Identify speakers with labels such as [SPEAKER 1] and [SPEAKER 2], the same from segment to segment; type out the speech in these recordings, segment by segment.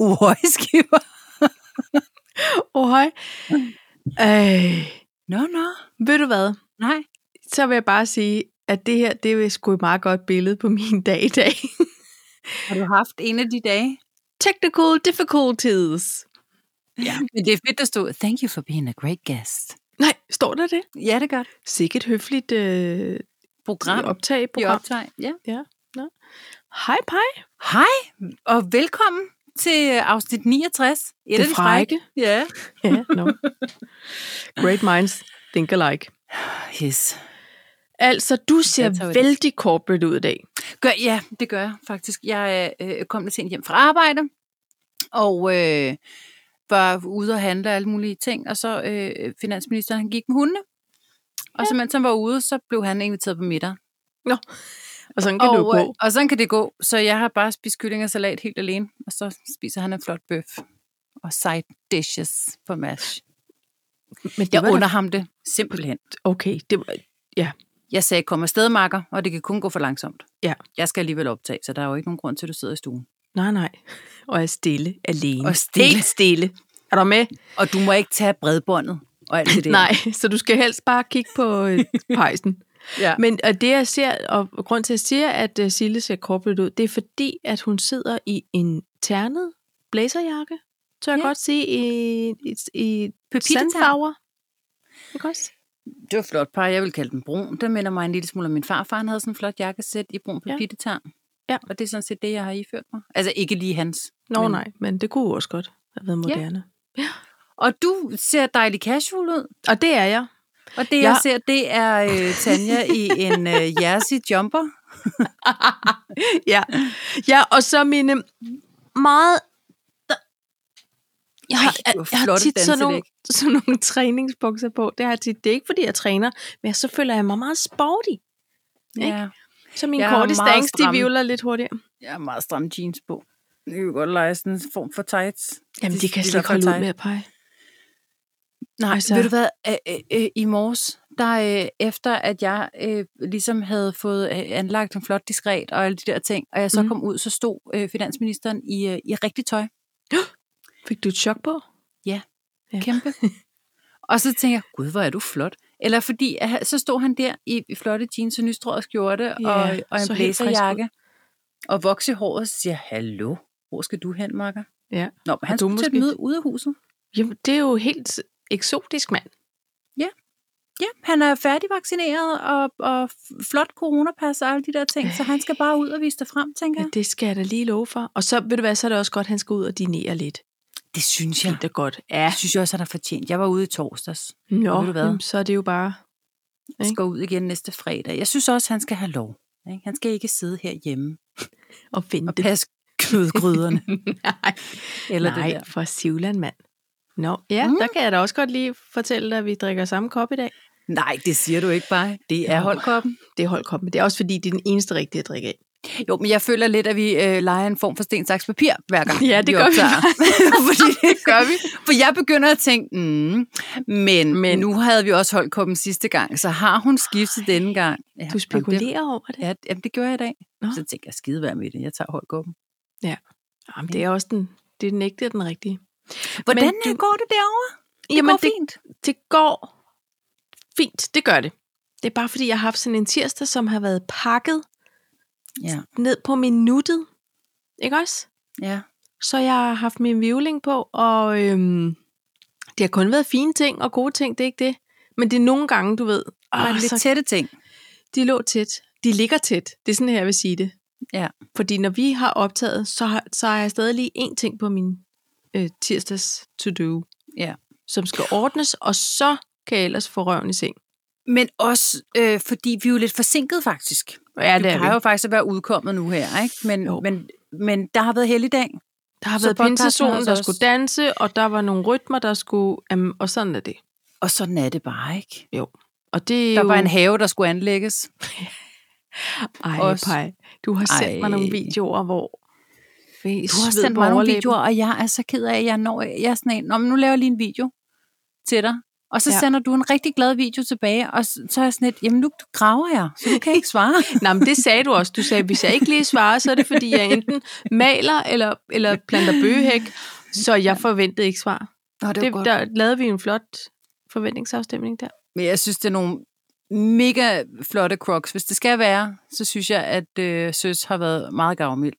[SPEAKER 1] Uhøjskiver.
[SPEAKER 2] Ohøj. Øh,
[SPEAKER 1] Nå, nå.
[SPEAKER 2] ved du hvad?
[SPEAKER 1] Mm. Nej.
[SPEAKER 2] Så vil jeg bare sige, at det her, det er sgu et meget godt billede på min dag i dag.
[SPEAKER 1] Har du haft en af de dage?
[SPEAKER 2] Technical difficulties.
[SPEAKER 1] Ja. Men det er fedt, der stod, thank you for being a great guest.
[SPEAKER 2] Nej, står der det?
[SPEAKER 1] Ja, det gør det.
[SPEAKER 2] Sikkert høfligt øh,
[SPEAKER 1] Program.
[SPEAKER 2] optag
[SPEAKER 1] Vi
[SPEAKER 2] program.
[SPEAKER 1] optager. Ja.
[SPEAKER 2] Hej, Pej.
[SPEAKER 1] Hej, og velkommen til afsnit 69. Et af de Ja.
[SPEAKER 2] Ja, no. Great minds think alike.
[SPEAKER 1] Yes.
[SPEAKER 2] Altså, du ser
[SPEAKER 1] tager vi det.
[SPEAKER 2] vældig corporate ud i dag.
[SPEAKER 1] Gør, ja, det gør jeg faktisk. Jeg øh, kom lidt sent hjem fra arbejde, og øh, var ude og handle alle mulige ting, og så øh, finansministeren han gik med hundene. Og så mens han var ude, så blev han inviteret på middag.
[SPEAKER 2] Og sådan kan
[SPEAKER 1] og,
[SPEAKER 2] og, du jo
[SPEAKER 1] øh,
[SPEAKER 2] gå.
[SPEAKER 1] og sådan kan det gå. Så jeg har bare spist kylling og salat helt alene, og så spiser han en flot bøf og side dishes på mash.
[SPEAKER 2] Men det
[SPEAKER 1] Jeg
[SPEAKER 2] var da-
[SPEAKER 1] under ham det, simpelthen.
[SPEAKER 2] Okay, det var,
[SPEAKER 1] Jeg sagde, kom afsted, makker, og det kan kun gå for langsomt.
[SPEAKER 2] Ja.
[SPEAKER 1] Jeg skal alligevel optage, så der er jo ikke nogen grund til, at du sidder i stuen.
[SPEAKER 2] nej, nej. Og er stille alene.
[SPEAKER 1] Og stille.
[SPEAKER 2] Helt stille. Er du med?
[SPEAKER 1] Og du må ikke tage bredbåndet og alt det der.
[SPEAKER 2] Nej, så du skal helst bare kigge på øh, pejsen.
[SPEAKER 1] Ja.
[SPEAKER 2] Men og det, jeg ser, og grund til, at jeg siger, at øh, Sille ser corporate ud, det er fordi, at hun sidder i en ternet blazerjakke, tør jeg
[SPEAKER 1] Ja.
[SPEAKER 2] godt sige, i, i, i
[SPEAKER 1] Pepittetern.
[SPEAKER 2] sandfarver. Ikke også?
[SPEAKER 1] Det var flot par. Jeg vil kalde den brun. Den minder mig en lille smule om min farfar. Han havde sådan en flot jakkesæt i brun
[SPEAKER 2] Ja.
[SPEAKER 1] papittetarm.
[SPEAKER 2] Ja.
[SPEAKER 1] Og det er sådan set det, jeg har iført mig. Altså ikke lige hans.
[SPEAKER 2] Nå
[SPEAKER 1] Men-
[SPEAKER 2] men, nej, men det kunne jo også godt have været
[SPEAKER 1] Ja.
[SPEAKER 2] moderne.
[SPEAKER 1] Og du ser dejlig casual ud.
[SPEAKER 2] Og det er jeg.
[SPEAKER 1] Og det, jeg,
[SPEAKER 2] Jeg-
[SPEAKER 1] jeg ser, det er øh, Tanja i en øh, jersey jumper.
[SPEAKER 2] ja. ja, og så mine meget... Jeg har,
[SPEAKER 1] Ej,
[SPEAKER 2] jeg,
[SPEAKER 1] det var
[SPEAKER 2] jeg har
[SPEAKER 1] flotte
[SPEAKER 2] tit sådan nogle,
[SPEAKER 1] danselæg.
[SPEAKER 2] sådan nogle træningsbukser på. Det har jeg tit. Det er ikke, fordi jeg træner, men så føler jeg mig meget sporty.
[SPEAKER 1] Ja.
[SPEAKER 2] Så mine
[SPEAKER 1] Jeg har
[SPEAKER 2] korte
[SPEAKER 1] meget
[SPEAKER 2] stangs, de
[SPEAKER 1] stramme.
[SPEAKER 2] vivler lidt hurtigere.
[SPEAKER 1] Jeg har meget stramme jeans på. Det kan godt lege sådan en form for tights.
[SPEAKER 2] Jamen, de kan jeg
[SPEAKER 1] i
[SPEAKER 2] slet
[SPEAKER 1] hvert
[SPEAKER 2] ikke
[SPEAKER 1] fald tights.
[SPEAKER 2] holde ud med at pege.
[SPEAKER 1] Nej, altså...
[SPEAKER 2] Altså-
[SPEAKER 1] ved du hvad, Æ, æ, æ, i morges, der øh, efter at jeg øh, ligesom havde fået øh, anlagt en flot diskret og alle de der ting, og jeg så
[SPEAKER 2] Mhm.
[SPEAKER 1] mm. kom ud, så stod øh, finansministeren i, øh, i rigtig tøj.
[SPEAKER 2] Fik du et chok på? Ja.
[SPEAKER 1] Kæmpe. og så tænker jeg, gud, hvor er du flot. Eller fordi, at, han- så stod han der i, i flotte jeans og nystrøget skjorte
[SPEAKER 2] Ja,
[SPEAKER 1] og, og en
[SPEAKER 2] så helt frisk ud.
[SPEAKER 1] blæserjakke. Og voks i håret og så siger, jeg, hallo, hvor skal du hen, makker?
[SPEAKER 2] Ja.
[SPEAKER 1] Nå, men han
[SPEAKER 2] du
[SPEAKER 1] skulle måske... til
[SPEAKER 2] måske-
[SPEAKER 1] at møde ude af huset.
[SPEAKER 2] Jamen, det er jo helt eksotisk, mand.
[SPEAKER 1] Ja, han er færdigvaccineret og, og f- flot coronapas og alle de der ting, så han skal bare ud og vise det frem, tænker
[SPEAKER 2] Ja.
[SPEAKER 1] jeg.
[SPEAKER 2] Det skal jeg da lige love for. Og så, ved du hvad, så er det også godt, at han skal ud og dinere lidt.
[SPEAKER 1] Det synes
[SPEAKER 2] Ja. Det er godt. Ja.
[SPEAKER 1] Det synes jeg også, han har fortjent. Jeg var ude i torsdags.
[SPEAKER 2] Nå,
[SPEAKER 1] Ved du hvad?
[SPEAKER 2] jamen, så er det jo bare...
[SPEAKER 1] Jeg
[SPEAKER 2] Ikke?
[SPEAKER 1] skal ud igen næste fredag. Jeg synes også, han skal have lov. ikke? Han skal ikke sidde herhjemme
[SPEAKER 2] at
[SPEAKER 1] og
[SPEAKER 2] vente.
[SPEAKER 1] passe kødgryderne.
[SPEAKER 2] Nej,
[SPEAKER 1] eller
[SPEAKER 2] Eller Nej
[SPEAKER 1] det der.
[SPEAKER 2] for Sivland, mand. Nå, ja,
[SPEAKER 1] Mm.
[SPEAKER 2] mm. der kan jeg da også godt lige fortælle dig, at vi drikker samme kop i dag.
[SPEAKER 1] Nej, det siger du ikke bare. Det er
[SPEAKER 2] Jo.
[SPEAKER 1] holdkoppen.
[SPEAKER 2] Det er holdkop, men det er også fordi, det er den eneste rigtige at drikke af.
[SPEAKER 1] Jo, men jeg føler lidt, at vi øh, leger en form for sten, saks, papir hver gang.
[SPEAKER 2] Ja, det gør vi
[SPEAKER 1] Fordi det
[SPEAKER 2] gør vi.
[SPEAKER 1] For jeg begynder at tænke, mm, men, men
[SPEAKER 2] Men-
[SPEAKER 1] nu havde vi også holdt koppen sidste gang, så har hun skiftet denne gang? Ja,
[SPEAKER 2] Du
[SPEAKER 1] jamen,
[SPEAKER 2] spekulerer over
[SPEAKER 1] det-
[SPEAKER 2] det.
[SPEAKER 1] Ja, jamen, det gjorde jeg i dag.
[SPEAKER 2] Nå.
[SPEAKER 1] Så tænkte jeg, skide være med det, jeg tager holdkoppen.
[SPEAKER 2] Jamen, det er også den, det er den ægte og den rigtige.
[SPEAKER 1] Hvordan
[SPEAKER 2] du-
[SPEAKER 1] du... går det derovre? Det
[SPEAKER 2] Jamen,
[SPEAKER 1] går
[SPEAKER 2] det,
[SPEAKER 1] fint.
[SPEAKER 2] det går fint. Det gør det. Det er bare fordi, jeg har haft sådan en tirsdag, som har været pakket
[SPEAKER 1] Ja,
[SPEAKER 2] ned på minuttet. Ikke også?
[SPEAKER 1] ja.
[SPEAKER 2] Så jeg har haft min vivling på, og øhm, det har kun været fine ting og gode ting, det er ikke det. Men det er nogle gange, du ved,
[SPEAKER 1] Og
[SPEAKER 2] åh,
[SPEAKER 1] oh, lidt
[SPEAKER 2] så-
[SPEAKER 1] tætte ting.
[SPEAKER 2] de lå tæt. De ligger tæt. Det er sådan, her, jeg vil sige det.
[SPEAKER 1] Ja.
[SPEAKER 2] Fordi når vi har optaget, så har, så har jeg stadig lige én ting på min øh, tirsdags to-do,
[SPEAKER 1] Ja.
[SPEAKER 2] som skal ordnes, og så kan jeg ellers få røven i seng.
[SPEAKER 1] Men også, øh, fordi vi er jo lidt forsinket faktisk.
[SPEAKER 2] Ja,
[SPEAKER 1] det plejer jo faktisk at være udkommet nu her, ikke? Men,
[SPEAKER 2] Jo.
[SPEAKER 1] men, men der har været helligdag.
[SPEAKER 2] Der har
[SPEAKER 1] så
[SPEAKER 2] været
[SPEAKER 1] podcasten har
[SPEAKER 2] pinsezonen,
[SPEAKER 1] altså
[SPEAKER 2] der
[SPEAKER 1] også-
[SPEAKER 2] skulle danse, og der var nogle rytmer, der skulle... Um, og sådan er det.
[SPEAKER 1] Og sådan er det bare, ikke?
[SPEAKER 2] Og det er
[SPEAKER 1] Der
[SPEAKER 2] jo...
[SPEAKER 1] var en have, der skulle anlægges.
[SPEAKER 2] Ej,
[SPEAKER 1] også.
[SPEAKER 2] pej. Du har sendt mig nogle
[SPEAKER 1] Ej.
[SPEAKER 2] videoer, hvor...
[SPEAKER 1] Du har sendt mig nogle videoer, og jeg er så ked af, at jeg når... Jeg er sådan en, "Nå, men nu laver jeg lige en video til dig. Og så ja.
[SPEAKER 2] Ja.
[SPEAKER 1] sender du en rigtig glad video tilbage, og s- så er jeg sådan lidt, jamen nu graver jeg, så du kan ikke svare.
[SPEAKER 2] Nej, men det sagde du også. Du sagde, hvis jeg ikke lige svarer, så er det fordi, jeg enten maler eller, eller planter bøgehæk. Så jeg forventede ikke svar.
[SPEAKER 1] Nå, det, var
[SPEAKER 2] Det, der lavede vi en flot forventningsafstemning der.
[SPEAKER 1] Men jeg synes, det er nogle mega flotte crocs. Hvis det skal være, så synes jeg, at øh, Søs har været meget gavmild.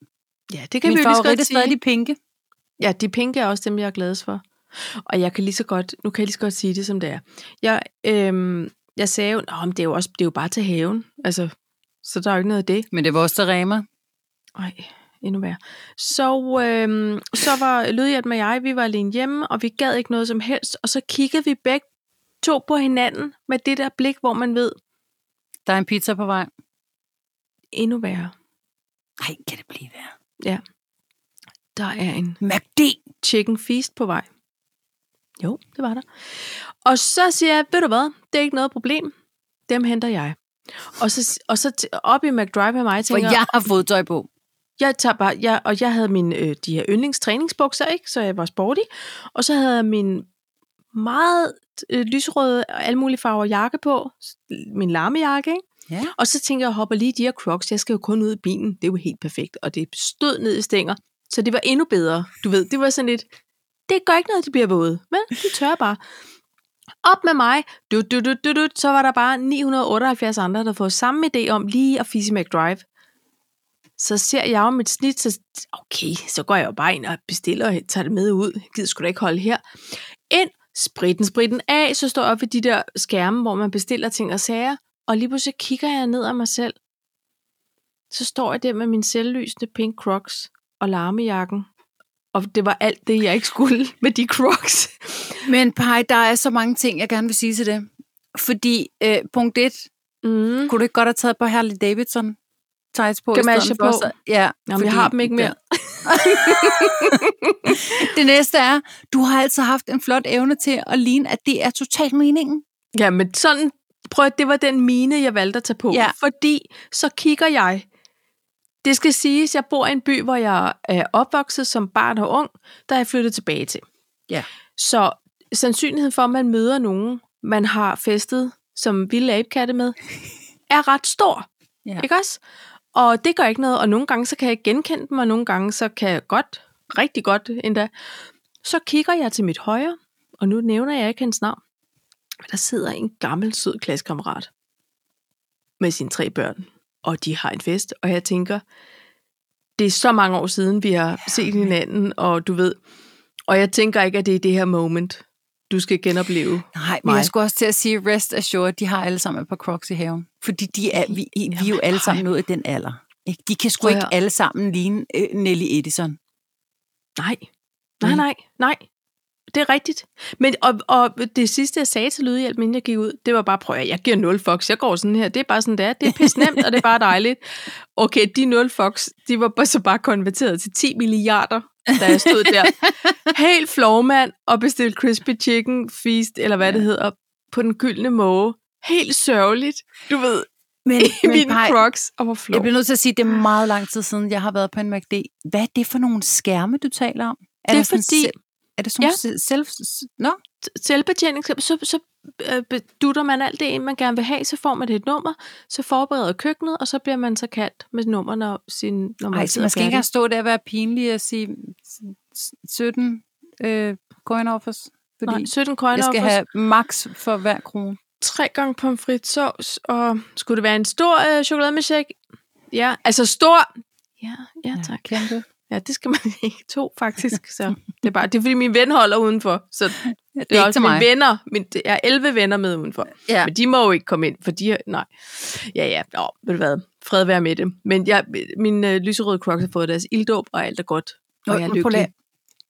[SPEAKER 2] Ja, det kan
[SPEAKER 1] Min
[SPEAKER 2] vi jo lige så
[SPEAKER 1] favorit
[SPEAKER 2] godt
[SPEAKER 1] er
[SPEAKER 2] sige.
[SPEAKER 1] stadig de pinke.
[SPEAKER 2] Ja, de pinke er også dem, jeg er gladest for. Og jeg kan lige så godt, nu kan jeg lige så godt sige det, som det er. Jeg, øhm, jeg sagde jo, Nå, men det er jo, også, det er jo bare til haven. Altså, så der er jo ikke noget af det.
[SPEAKER 1] Men det var også der remer.
[SPEAKER 2] Nej, endnu værre. Så, øhm, så var Lydhjælp med jeg, vi var alene hjemme, og vi gad ikke noget som helst. Og så kiggede vi begge to på hinanden med det der blik, hvor man ved,
[SPEAKER 1] Der er en pizza på vej.
[SPEAKER 2] endnu værre.
[SPEAKER 1] Nej, kan det blive værre.
[SPEAKER 2] Der er en
[SPEAKER 1] MACD!
[SPEAKER 2] chicken feast på vej. Jo, det var der. Og så siger jeg, ved du hvad, det er ikke noget problem. Dem henter jeg. Og så, og så t- op i McDrive med mig,
[SPEAKER 1] For
[SPEAKER 2] tænker jeg,
[SPEAKER 1] jeg har fået tøj på.
[SPEAKER 2] jeg tager bare, jeg, og jeg havde mine, øh, de her yndlingstræningsbukser, ikke? så jeg var sporty. Og så havde jeg min meget øh, lyserøde og alle mulige farver jakke på, s- min larmejakke, ikke?
[SPEAKER 1] Ja.
[SPEAKER 2] Og så tænker jeg, jeg hopper lige i de her crocs, jeg skal jo kun ud i bilen, det er jo helt perfekt. Og det stod ned i stænger, så det var endnu bedre. Du ved, det var sådan lidt, det gør ikke noget, de bliver våde, men de tør bare. Op med mig, du, du, du, du, du, så var der bare 978 andre, der havde fået samme idé om lige at fisse i McDrive. Så ser jeg jo mit snit, så okay, så går jeg jo bare ind og bestiller og tager det med ud. Jeg gider sgu da ikke holde her. Ind, spritten, spritten af, så står jeg op ved de der skærme, hvor man bestiller ting og sager. Og lige pludselig kigger jeg ned af mig selv. Så står jeg der med min selvlysende pink crocs og larmejakken. Og det var alt det, jeg ikke skulle med de crocs.
[SPEAKER 1] Men Paj, der er så mange ting, jeg gerne vil sige til det. Fordi, øh, punkt 1,
[SPEAKER 2] Mm.
[SPEAKER 1] kunne du ikke godt have taget på Harley Davidson? Tights på. i
[SPEAKER 2] Gamache
[SPEAKER 1] stedet for,
[SPEAKER 2] på.
[SPEAKER 1] så- Ja,
[SPEAKER 2] Jamen, jeg har dem ikke mere.
[SPEAKER 1] Det næste er, du har altså haft en flot evne til at ligne, at det er totalt meningen.
[SPEAKER 2] Ja, men sådan, prøv at det var den mine, jeg valgte at tage på.
[SPEAKER 1] Ja.
[SPEAKER 2] Fordi så kigger jeg. Det skal siges, jeg bor i en by, hvor jeg er opvokset som barn og ung, der er jeg flyttet tilbage til.
[SPEAKER 1] Ja.
[SPEAKER 2] Så sandsynligheden for, at man møder nogen, man har festet som vilde abekatte med, er ret stor.
[SPEAKER 1] Ja.
[SPEAKER 2] Ikke også? Og det gør ikke noget, og nogle gange så kan jeg ikke genkende dem, og nogle gange så kan jeg godt, rigtig godt endda. Så kigger jeg til mit højre, og nu nævner jeg ikke hendes navn, men der sidder en gammel, sød klassekammerat med sine tre børn, og de har en fest, og jeg tænker, det er så mange år siden, vi har ja, set hinanden, og du ved, og jeg tænker ikke, at det er det her moment, du skal genopleve.
[SPEAKER 1] Nej, men
[SPEAKER 2] mig.
[SPEAKER 1] jeg skulle også til at sige, rest assured, de har alle sammen et par crocs i haven. Fordi de er, vi, vi er jo alle sammen nået i den alder. Ikke? De kan sgu
[SPEAKER 2] Prøv at
[SPEAKER 1] ikke
[SPEAKER 2] høre.
[SPEAKER 1] alle sammen ligne øh, Nelly Edison.
[SPEAKER 2] Nej. Nej, nej, nej. Det er rigtigt. Men, og, og det sidste, jeg sagde til Lydhjælp, inden jeg gik ud, det var bare, prøv at høre, jeg giver 0 fox. Jeg går sådan her. Det er bare sådan, det er. Det er pisse nemt, og det er bare dejligt. Okay, de 0 fox, de var bare så bare konverteret til 10 milliarder, da jeg stod der. Helt flormand og bestilte crispy chicken feast, eller hvad ja. det hedder, på den gyldne måge. Helt sørgeligt, du ved,
[SPEAKER 1] Men,
[SPEAKER 2] i mine
[SPEAKER 1] Paj,
[SPEAKER 2] crocs. Og hvor flot.
[SPEAKER 1] jeg bliver nødt til at sige, at det er meget lang tid siden, jeg har været på en MACD. Hvad er det for nogle skærme, du taler om? Er
[SPEAKER 2] Det er
[SPEAKER 1] der altså, sådan
[SPEAKER 2] fordi-
[SPEAKER 1] selv- Er det sådan ja. selv... s- Nå,
[SPEAKER 2] selvbetjening, så, så, så øh, be- dutter man alt det ind, man gerne vil have, så får man det et nummer, så forbereder køkkenet, og så bliver man så kaldt med nummer, når, sin, når man
[SPEAKER 1] Ej, så man skal ikke
[SPEAKER 2] færdig.
[SPEAKER 1] engang stå der og være pinlig og sige s- s- 17 øh, coin offers. Fordi
[SPEAKER 2] Nej, 17
[SPEAKER 1] jeg
[SPEAKER 2] krøjner
[SPEAKER 1] skal have max for hver krone.
[SPEAKER 2] tre gange pomfritsovs, og skulle det være en stor øh, chokolademilkshake? Ja, altså stor. Ja, ja, tak. Ja,
[SPEAKER 1] Kæmpe.
[SPEAKER 2] ja, det skal man ikke. To, faktisk. Så det er bare, det er fordi min ven holder udenfor, så det,
[SPEAKER 1] Ja, det,
[SPEAKER 2] det er
[SPEAKER 1] ikke
[SPEAKER 2] også
[SPEAKER 1] til
[SPEAKER 2] mine
[SPEAKER 1] mig.
[SPEAKER 2] venner. Min, jeg er 11 venner med udenfor.
[SPEAKER 1] Ja.
[SPEAKER 2] Men de må jo ikke komme ind, for de... Nej. Ja, ja. Nå, ved du hvad? Fred være med det. Men jeg, min øh, lyserøde crocs har fået deres ilddåb, og alt er godt. Og jeg er
[SPEAKER 1] men prøv lige
[SPEAKER 2] lykkelig.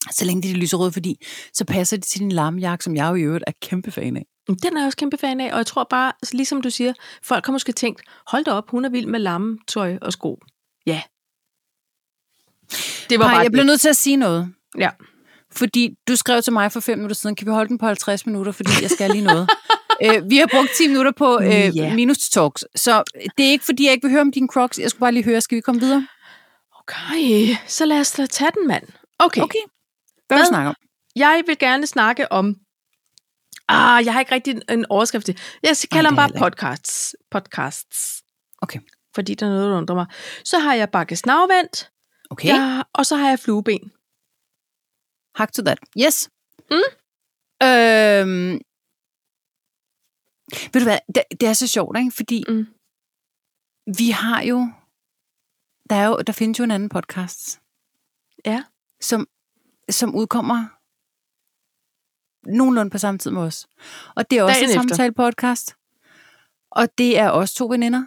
[SPEAKER 1] at- Så længe det er de lyserøde, fordi så passer det til din larmejakke, som jeg jo i øvrigt er kæmpe fan af.
[SPEAKER 2] Jamen, Den er jeg også kæmpe fan af, og jeg tror bare, altså, ligesom du siger, folk har måske tænkt, hold da op, hun er vild med lamme, tøj og sko. Ja. Det var
[SPEAKER 1] Nej,
[SPEAKER 2] bare
[SPEAKER 1] jeg bliver nødt til at sige noget.
[SPEAKER 2] Ja.
[SPEAKER 1] Fordi du skrev til mig for fem minutter siden, kan vi holde den på 50 minutter, fordi jeg skal lige noget. øh, vi har brugt 10 minutter på øh,
[SPEAKER 2] Ja.
[SPEAKER 1] yeah. minus talks, så det er ikke, fordi jeg ikke vil høre om dine crocs. Jeg skulle bare lige høre, skal vi komme videre?
[SPEAKER 2] Okay, så lad os da tage den, mand. Okay.
[SPEAKER 1] Okay. Hvad vil du snakke om?
[SPEAKER 2] Jeg vil gerne snakke om Ah, jeg har ikke rigtig en- en overskrift til. Jeg
[SPEAKER 1] Nej, det
[SPEAKER 2] kalder dem
[SPEAKER 1] har
[SPEAKER 2] bare
[SPEAKER 1] jeg heller
[SPEAKER 2] podcasts. Podcasts.
[SPEAKER 1] Okay.
[SPEAKER 2] Fordi der er noget, der undrer mig. Så har jeg bakke snavvendt,
[SPEAKER 1] Okay,
[SPEAKER 2] okay.
[SPEAKER 1] ja.
[SPEAKER 2] jeg, og så har jeg flueben.
[SPEAKER 1] hack to that. Yes.
[SPEAKER 2] Mm.
[SPEAKER 1] Øhm, ved du hvad, det, det er så sjovt, ikke? Fordi
[SPEAKER 2] Mm.
[SPEAKER 1] vi har jo der, er jo... der findes jo en anden podcast.
[SPEAKER 2] Ja.
[SPEAKER 1] Som, som udkommer nogenlunde på samme tid med os. Og det er også
[SPEAKER 2] Dagen
[SPEAKER 1] en
[SPEAKER 2] efter.
[SPEAKER 1] samtale-podcast. Og det er også to veninder.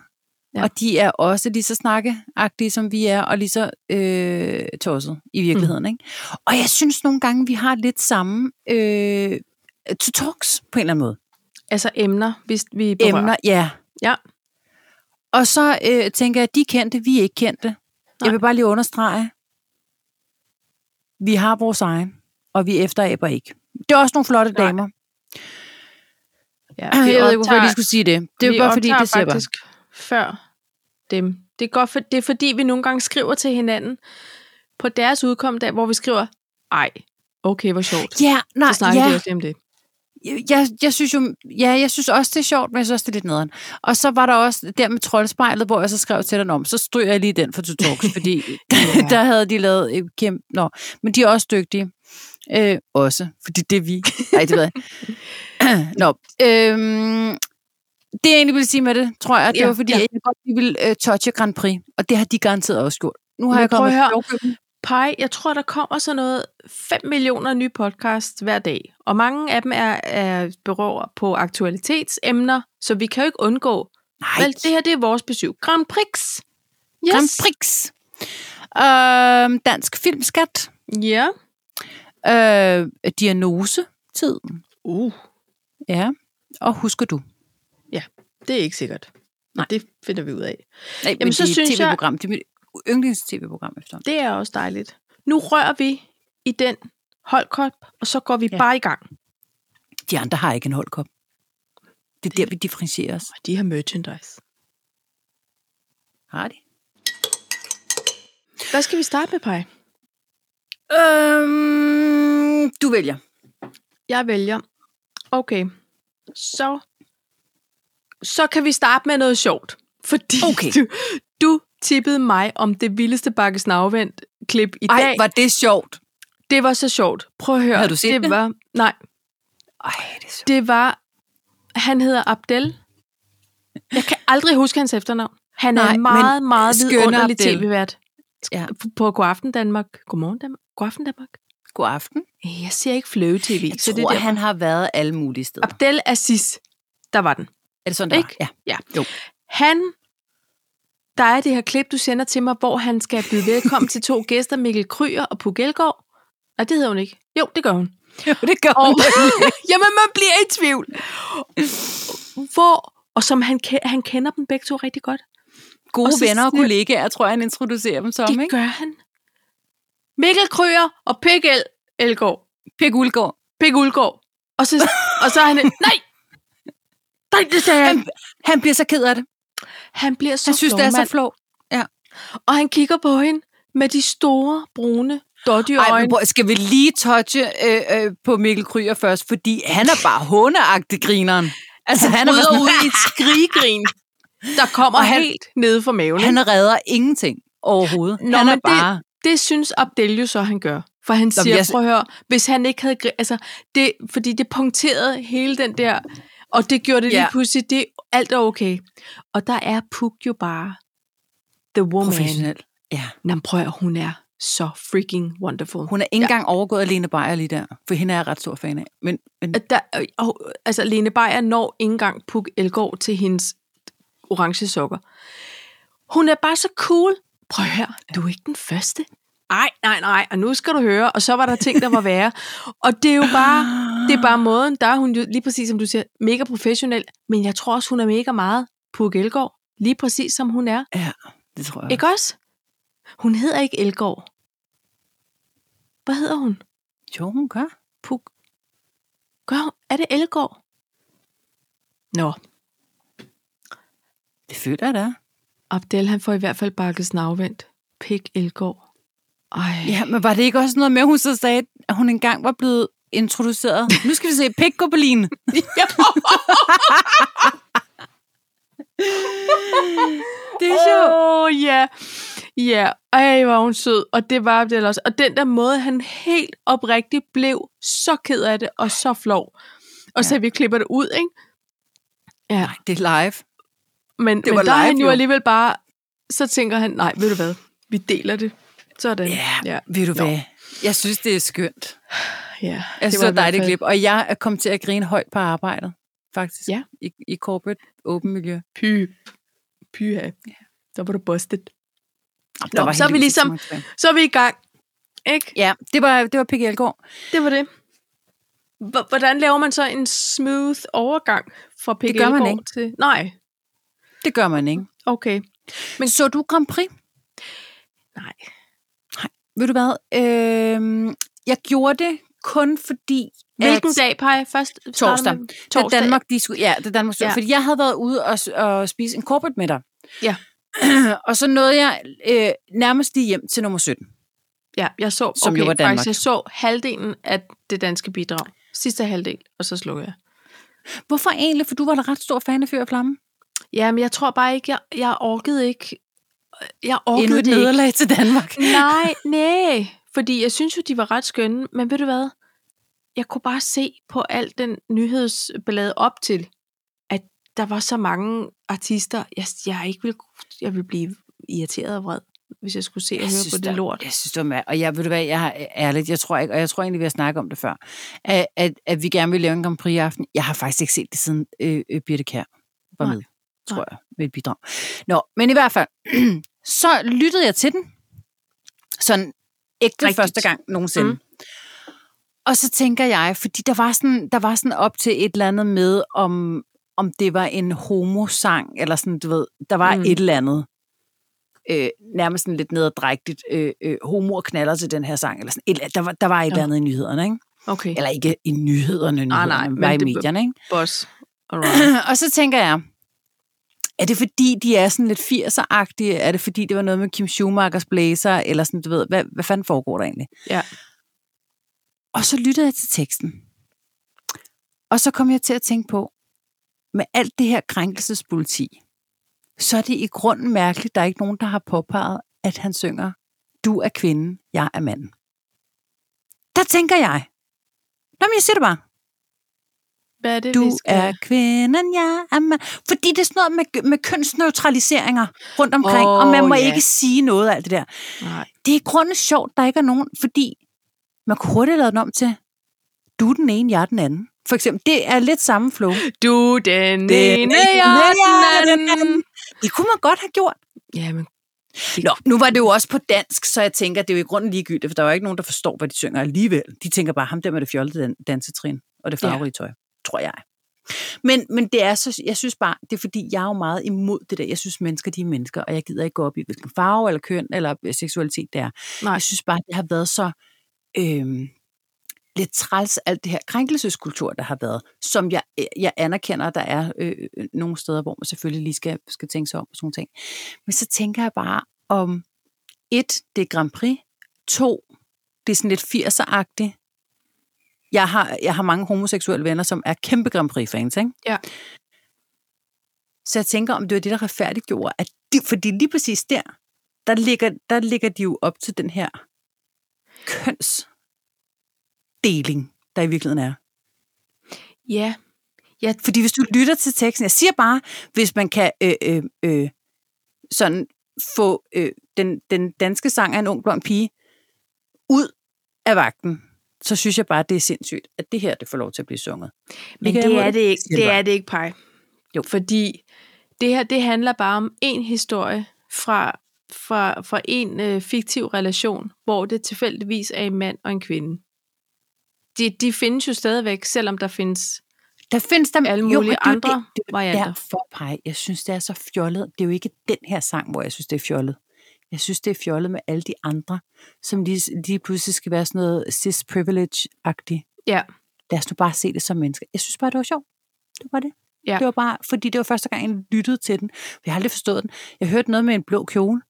[SPEAKER 1] Ja.
[SPEAKER 2] Ja.
[SPEAKER 1] Og de er også lige så snakkeagtige, som vi er, og lige så øh, tosset i virkeligheden. Mm. Ikke? Og jeg synes nogle gange, vi har lidt samme øh, to talks på en eller anden måde.
[SPEAKER 2] Altså emner, hvis vi berører.
[SPEAKER 1] Emner, ja.
[SPEAKER 2] Ja.
[SPEAKER 1] Og så øh, tænker jeg, de er kendte, vi er ikke kendte. Nej. Jeg
[SPEAKER 2] Nej.
[SPEAKER 1] vil bare lige understrege, vi har vores egen, og vi efteraber ikke. Det er også nogle flotte
[SPEAKER 2] Nej.
[SPEAKER 1] damer.
[SPEAKER 2] Ja,
[SPEAKER 1] Jeg
[SPEAKER 2] vi
[SPEAKER 1] ved ikke, hvorfor jeg lige
[SPEAKER 2] optager-
[SPEAKER 1] skulle sige det. Det
[SPEAKER 2] vi
[SPEAKER 1] er bare fordi,
[SPEAKER 2] optager
[SPEAKER 1] det ser bare.
[SPEAKER 2] faktisk før dem. Det er, godt for, det er fordi, vi nogle gange skriver til hinanden på deres udkom, der, hvor vi skriver, ej, okay, hvor sjovt.
[SPEAKER 1] Ja, nej,
[SPEAKER 2] Så snakker
[SPEAKER 1] ja.
[SPEAKER 2] vi også lige om det.
[SPEAKER 1] jeg, jeg synes jo, ja, jeg synes også, det er sjovt, men jeg synes også, det er lidt nederen. Og så var der også der med troldspejlet, hvor jeg så skrev til den om, så stryger jeg lige den for to talks, fordi ja. der havde de lavet et kæmpe... Nå, men de er også dygtige. Øh, også, fordi det er vi. Nej, det ved jeg. ikke. Nå, øhm, det jeg egentlig ville sige med det, tror jeg, det
[SPEAKER 2] Ja,
[SPEAKER 1] var fordi,
[SPEAKER 2] ja.
[SPEAKER 1] jeg godt lige ville øh, touche Grand Prix, og det har de garanteret også gjort. Nu har
[SPEAKER 2] Men
[SPEAKER 1] jeg
[SPEAKER 2] prøv
[SPEAKER 1] kommet
[SPEAKER 2] at høre.
[SPEAKER 1] lovgivning.
[SPEAKER 2] Pej, jeg tror, der kommer sådan noget 5 millioner nye podcasts hver dag, og mange af dem er, er berører på aktualitetsemner, så vi kan jo ikke undgå,
[SPEAKER 1] Nej,
[SPEAKER 2] vel, det her det er vores besøg. Grand Prix! Yes.
[SPEAKER 1] Grand Prix. Øhm, dansk filmskat.
[SPEAKER 2] Ja.
[SPEAKER 1] Øh, diagnosetid.
[SPEAKER 2] Uh,
[SPEAKER 1] Ja. Og husker du?
[SPEAKER 2] det er ikke sikkert.
[SPEAKER 1] Nej.
[SPEAKER 2] Det finder vi ud af.
[SPEAKER 1] Nej,
[SPEAKER 2] men så
[SPEAKER 1] det er et
[SPEAKER 2] synes jeg-
[SPEAKER 1] TV-program. Det er mit yndlings-tv-program efter.
[SPEAKER 2] Det er også dejligt. Nu rører vi i den holdkop, og så går vi
[SPEAKER 1] Ja.
[SPEAKER 2] ja. bare i gang.
[SPEAKER 1] De andre har ikke en holdkop. Det er der, vi differentierer os.
[SPEAKER 2] Og de har merchandise.
[SPEAKER 1] Har de?
[SPEAKER 2] Hvad skal vi starte med, Paj?
[SPEAKER 1] Øhm, du vælger.
[SPEAKER 2] Jeg vælger. Okay, så, så kan vi starte med noget sjovt. Fordi
[SPEAKER 1] Okay.
[SPEAKER 2] du, du tippede mig om det vildeste bakkesnavvendt klip i
[SPEAKER 1] Ej,
[SPEAKER 2] dag.
[SPEAKER 1] var det sjovt.
[SPEAKER 2] Det var så sjovt. Prøv at høre.
[SPEAKER 1] Havde du set
[SPEAKER 2] det?
[SPEAKER 1] det?
[SPEAKER 2] Var, nej,
[SPEAKER 1] Ej, det er sjovt.
[SPEAKER 2] det var... Han hedder Abdel. Jeg kan aldrig huske hans efternavn. Han er
[SPEAKER 1] Nej,
[SPEAKER 2] en
[SPEAKER 1] men
[SPEAKER 2] meget, meget
[SPEAKER 1] skønne
[SPEAKER 2] vidunderlig
[SPEAKER 1] Abdel.
[SPEAKER 2] tv-vært.
[SPEAKER 1] Ja.
[SPEAKER 2] På Godaften Danmark. Godmorgen Danmark. Godaften Danmark.
[SPEAKER 1] God aften.
[SPEAKER 2] Jeg ser ikke fløve tv.
[SPEAKER 1] Jeg
[SPEAKER 2] så
[SPEAKER 1] tror,
[SPEAKER 2] det er der.
[SPEAKER 1] han har været alle mulige steder.
[SPEAKER 2] Abdel Aziz. Der var den.
[SPEAKER 1] Er det sådan, der var?
[SPEAKER 2] Ikke?
[SPEAKER 1] Ja.
[SPEAKER 2] Han, der er det her klip, du sender til mig, hvor han skal byde velkommen til to gæster, Mikkel Kryer og Puk Elgård. Nej, det hedder hun ikke. Jo, det gør hun.
[SPEAKER 1] Jo, det gør
[SPEAKER 2] Og,
[SPEAKER 1] han.
[SPEAKER 2] jamen, man bliver i tvivl. Hvor, og som han, ke- han kender dem begge to rigtig godt.
[SPEAKER 1] Gode
[SPEAKER 2] og så
[SPEAKER 1] venner og
[SPEAKER 2] siger-
[SPEAKER 1] kollegaer, tror jeg, han introducerer dem som,
[SPEAKER 2] det
[SPEAKER 1] ikke?
[SPEAKER 2] gør han. Mikkel Kryer og Puk El- Elgård.
[SPEAKER 1] Pik Uldgaard.
[SPEAKER 2] Pik Ulgaard. Og så, og så er han, nej! Nej, det sagde han.
[SPEAKER 1] Han, han bliver så ked af det.
[SPEAKER 2] Han bliver så
[SPEAKER 1] Han synes, det er så
[SPEAKER 2] flov,
[SPEAKER 1] flot.
[SPEAKER 2] mand. Og han kigger på hende med de store, brune, dottige
[SPEAKER 1] Ej, men
[SPEAKER 2] øjne.
[SPEAKER 1] prøv, skal vi lige touche øh, øh, på Mikkel Kryer først, fordi han er bare hundeagtig grineren. Altså, han, er
[SPEAKER 2] bryder
[SPEAKER 1] sådan,
[SPEAKER 2] ud i et skriggrin, der kommer
[SPEAKER 1] Og han-
[SPEAKER 2] han, helt nede fra maven. Han,
[SPEAKER 1] "Ah, han redder ingenting overhovedet.
[SPEAKER 2] Nå,
[SPEAKER 1] han er
[SPEAKER 2] men det-
[SPEAKER 1] bare...
[SPEAKER 2] det synes Abdel jo så, han gør. For han
[SPEAKER 1] men
[SPEAKER 2] siger,
[SPEAKER 1] jeg-
[SPEAKER 2] prøv at høre, hvis han ikke havde... gri- Altså, det, fordi det punkterede hele den der... Og det gjorde det
[SPEAKER 1] Ja.
[SPEAKER 2] lige pludselig, det alt er okay. Og der er Puk jo bare the woman.
[SPEAKER 1] professionel. Ja.
[SPEAKER 2] Nå, men prøv at høre, hun er så freaking wonderful.
[SPEAKER 1] Hun er ikke engang overgået af Lene Beyer lige der, for hende er jeg ret stor fan af. Men, men
[SPEAKER 2] At Der, øh, og, altså, Lene Beyer når ikke engang Puk Elgård til hendes orange sokker. Hun er bare så cool. Prøv at høre, du er ikke den første. Ej, nej, nej, og nu skal du høre. Og så var der ting, der var værre. Og det er jo bare, det er bare måden, der er hun jo lige præcis, som du siger, mega professionel. Men jeg tror også, hun er mega meget Puk Elgård. Lige præcis, som hun er.
[SPEAKER 1] ja, det tror jeg.
[SPEAKER 2] Ikke også? Hun hedder ikke Elgård. Hvad hedder hun?
[SPEAKER 1] Jo, hun gør.
[SPEAKER 2] Puk. Gør hun? Er det Elgård? Nå,
[SPEAKER 1] Det føler jeg da.
[SPEAKER 2] Abdel han får i hvert fald bakket snavvendt. Pik Elgård. Ej.
[SPEAKER 1] Ja, men var det ikke også noget med, at hun så sagde, at hun engang var blevet introducerede. Nu skal vi se Pekkoberlin. Det er sjovt.
[SPEAKER 2] Åh, ja. Ja, ej, hvor er hun sød. Og det var det også. Og den der måde, han helt oprigtigt blev så ked af det, og så flov. Og så
[SPEAKER 1] Ja.
[SPEAKER 2] vi klipper det ud, ikke? Ja,
[SPEAKER 1] Det er live.
[SPEAKER 2] men, det
[SPEAKER 1] det
[SPEAKER 2] men
[SPEAKER 1] var
[SPEAKER 2] der er
[SPEAKER 1] live,
[SPEAKER 2] han jo
[SPEAKER 1] jo.
[SPEAKER 2] alligevel bare, så tænker han, nej, ved du hvad, vi deler det. Sådan.
[SPEAKER 1] Ja,
[SPEAKER 2] ja.
[SPEAKER 1] ved du
[SPEAKER 2] Nå.
[SPEAKER 1] hvad? Jeg synes, det er skønt.
[SPEAKER 2] ja.
[SPEAKER 1] Jeg
[SPEAKER 2] Det
[SPEAKER 1] synes,
[SPEAKER 2] var
[SPEAKER 1] det
[SPEAKER 2] i
[SPEAKER 1] var
[SPEAKER 2] hvert
[SPEAKER 1] dejligt
[SPEAKER 2] fald-
[SPEAKER 1] klip. Og jeg er kommet til at grine højt på arbejdet, faktisk.
[SPEAKER 2] Ja.
[SPEAKER 1] I, i corporate åben miljø.
[SPEAKER 2] Py. Pyha. Der var du busted.
[SPEAKER 1] Der var
[SPEAKER 2] så er vi
[SPEAKER 1] heldigvis ikke
[SPEAKER 2] ligesom-
[SPEAKER 1] så mange tilbage.
[SPEAKER 2] Så er vi i gang. Ikke?
[SPEAKER 1] Ja, det var, det var Peggy Elgård.
[SPEAKER 2] Det var det. H- hvordan laver man så en smooth overgang fra PGL
[SPEAKER 1] gør man ikke.
[SPEAKER 2] til... Nej,
[SPEAKER 1] Det gør man ikke.
[SPEAKER 2] okay.
[SPEAKER 1] Men så du Grand Prix?
[SPEAKER 2] Nej.
[SPEAKER 1] Nej. Ved du hvad? Øh, jeg gjorde det kun fordi...
[SPEAKER 2] Hvilken
[SPEAKER 1] at,
[SPEAKER 2] dag peger jeg først? Starter
[SPEAKER 1] Torsdag.
[SPEAKER 2] med-
[SPEAKER 1] Torsdag.
[SPEAKER 2] Torsdag.
[SPEAKER 1] Da Danmark, de skulle, ja, da Danmark skulle,
[SPEAKER 2] Ja.
[SPEAKER 1] ja. fordi jeg havde været ude og, s- og spise en corporate middag.
[SPEAKER 2] Ja.
[SPEAKER 1] og så nåede jeg øh, nærmest lige hjem til nummer 17.
[SPEAKER 2] Ja, jeg så,
[SPEAKER 1] Som
[SPEAKER 2] okay,
[SPEAKER 1] jo var Danmark.
[SPEAKER 2] Faktisk, jeg så halvdelen af det danske bidrag. Sidste halvdel, og så slog jeg.
[SPEAKER 1] Hvorfor egentlig? For du var da ret stor fan af Fyr og Flamme.
[SPEAKER 2] Ja, men jeg tror bare ikke, jeg, jeg orkede ikke. Jeg orkede
[SPEAKER 1] Endnu et
[SPEAKER 2] det ikke.
[SPEAKER 1] nederlag til Danmark.
[SPEAKER 2] Nej, nej. Fordi jeg synes jo, de var ret skønne. Men ved du hvad? Jeg kunne bare se på alt den nyhedsballade op til, at der var så mange artister, jeg, jeg ikke ville, jeg ville blive irriteret og vred, hvis jeg skulle se og høre på det
[SPEAKER 1] der-
[SPEAKER 2] lort.
[SPEAKER 1] Jeg synes, det var mær- Og jeg, ved du hvad, jeg har ærligt, jeg tror ikke, og jeg tror egentlig, vi har snakket om det før, at, at, at vi gerne vil lave en Grand Prix i aften. Jeg har faktisk ikke set det siden øh, øh, Birte Kær var
[SPEAKER 2] Nej.
[SPEAKER 1] med, tror
[SPEAKER 2] Nej.
[SPEAKER 1] jeg, med et bidrag. Nå, men i hvert fald, så lyttede jeg til den. Sådan ægte
[SPEAKER 2] Rigtigt.
[SPEAKER 1] Rigtigt. første gang nogensinde.
[SPEAKER 2] Mm.
[SPEAKER 1] Mm. Og så tænker jeg, fordi der var, sådan, der var sådan op til et eller andet med, om, om det var en homosang, eller sådan, du ved, der var
[SPEAKER 2] Mm.
[SPEAKER 1] mm. et eller andet øh, nærmest sådan lidt nederdrægtigt, øh, øh, homoer knaller til den her sang, eller sådan, et, eller andet. der, var, der var et
[SPEAKER 2] Nå.
[SPEAKER 1] eller andet i nyhederne, ikke?
[SPEAKER 2] Okay,
[SPEAKER 1] Eller ikke i nyhederne, nyhederne
[SPEAKER 2] Ah, nej,
[SPEAKER 1] nej,
[SPEAKER 2] men
[SPEAKER 1] nej, i
[SPEAKER 2] det-
[SPEAKER 1] medierne, ikke?
[SPEAKER 2] boss. Alright.
[SPEAKER 1] Og så tænker jeg, er det fordi, de er sådan lidt 80'er-agtige? Er det fordi, det var noget med Kim Schumachers blæser? Eller sådan, du ved, hvad, hvad fanden foregår der egentlig?
[SPEAKER 2] Ja.
[SPEAKER 1] Og så lyttede jeg til teksten. Og så kom jeg til at tænke på, med alt det her krænkelsespoliti, så er det i grunden mærkeligt, der er ikke nogen, der har påpeget, at han synger, du er kvinden, jeg er manden. Der tænker jeg, Nå, men jeg siger det bare.
[SPEAKER 2] Hvad er det, vi
[SPEAKER 1] Du
[SPEAKER 2] skal...
[SPEAKER 1] er kvinden, jeg er mand. Fordi det er sådan noget med, med kønsneutraliseringer rundt omkring,
[SPEAKER 2] Åh,
[SPEAKER 1] oh, og man må
[SPEAKER 2] ja.
[SPEAKER 1] yeah. ikke sige noget af alt det der.
[SPEAKER 2] Nej.
[SPEAKER 1] Det er i grunden sjovt, der ikke er nogen, fordi man kunne hurtigt lave den om til, du er den ene, jeg er den anden. For eksempel, det er lidt samme flow.
[SPEAKER 2] Du den ene, jeg den anden.
[SPEAKER 1] Det kunne man godt have gjort.
[SPEAKER 2] Jamen,
[SPEAKER 1] Nå, nu var det jo også på dansk, så jeg tænker, det er jo i grunden ligegyldigt, for der er jo ikke nogen, der forstår, hvad de synger alligevel. De tænker bare, ham der med det fjollede dan- dansetrin og det
[SPEAKER 2] Ja.
[SPEAKER 1] farverige tøj, tror jeg. Men, men det er så, jeg synes bare, det er fordi, jeg er jo meget imod det der. Jeg synes, mennesker, de er mennesker, og jeg gider ikke gå op i, hvilken farve, eller køn, eller øh, seksualitet det er.
[SPEAKER 2] nej.
[SPEAKER 1] Jeg synes bare, det har været så øhm, lidt træls, alt det her krænkelseskultur, der har været, som jeg, jeg anerkender, der er øh, øh, nogle steder, hvor man selvfølgelig lige skal, skal tænke sig om og sådan nogle ting. Men så tænker jeg bare om, et, det er Grand Prix, to, det er sådan lidt 80'er-agtigt. Jeg har, jeg har mange homoseksuelle venner, som er kæmpe Grand Prix-fans, ikke?
[SPEAKER 2] Ja.
[SPEAKER 1] Så jeg tænker, om det var det, der retfærdiggjorde, at de, fordi lige præcis der, der ligger, der ligger de jo op til den her kønsdeling, der i virkeligheden er.
[SPEAKER 2] Ja,
[SPEAKER 1] Fordi hvis du lytter til teksten, jeg siger bare, hvis man kan øh, øh, øh, sådan få øh, den, den danske sang af en ung blond pige ud af vagten, så synes jeg bare, det er sindssygt, at det her det får lov til at blive sunget.
[SPEAKER 2] Men
[SPEAKER 1] kan jeg
[SPEAKER 2] det, det
[SPEAKER 1] imod
[SPEAKER 2] er det ikke.
[SPEAKER 1] Siger
[SPEAKER 2] Det
[SPEAKER 1] jeg
[SPEAKER 2] er det ikke, Paj.
[SPEAKER 1] Jo.
[SPEAKER 2] Fordi det her, det handler bare om en historie fra, fra, fra en øh, fiktiv relation, hvor det tilfældigvis er en mand og en kvinde. De, de findes jo stadigvæk, selvom der findes
[SPEAKER 1] Der findes der
[SPEAKER 2] alle
[SPEAKER 1] men det
[SPEAKER 2] mulige
[SPEAKER 1] er jo
[SPEAKER 2] andre
[SPEAKER 1] det-
[SPEAKER 2] varianter.
[SPEAKER 1] Derfor, Paj, jeg synes, det er så fjollet. Det er jo ikke den her sang, hvor jeg synes, det er fjollet. Jeg synes, det er fjollet med alle de andre, som lige, lige pludselig skal være sådan noget cis-privilege-agtigt.
[SPEAKER 2] Ja.
[SPEAKER 1] Lad os nu bare se det som mennesker. Jeg synes bare, det var sjovt. Det var det.
[SPEAKER 2] Ja.
[SPEAKER 1] Det var bare, fordi det var første gang, jeg lyttede til den. Jeg har aldrig forstået den. Jeg hørte noget med en blå kjole,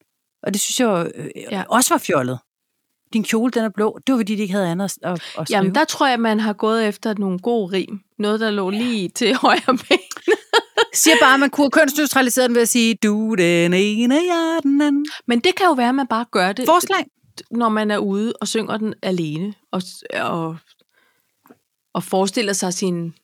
[SPEAKER 1] og det synes jeg var, øh,
[SPEAKER 2] Ja.
[SPEAKER 1] ja. også var fjollet. din kjole den er blå. Det var fordi, de ikke havde andet at, at, at skrive.
[SPEAKER 2] Jamen, der tror jeg, man har gået efter nogle gode rim. Noget, der lå lige til højre ben.
[SPEAKER 1] Siger bare, at man kunne kønsneutralisere den ved at sige, du er den ene, jeg er den anden.
[SPEAKER 2] Men det kan jo være, at man bare gør det,
[SPEAKER 1] Forslag.
[SPEAKER 2] når man er ude og synger den alene. Og, og, og forestiller sig sin,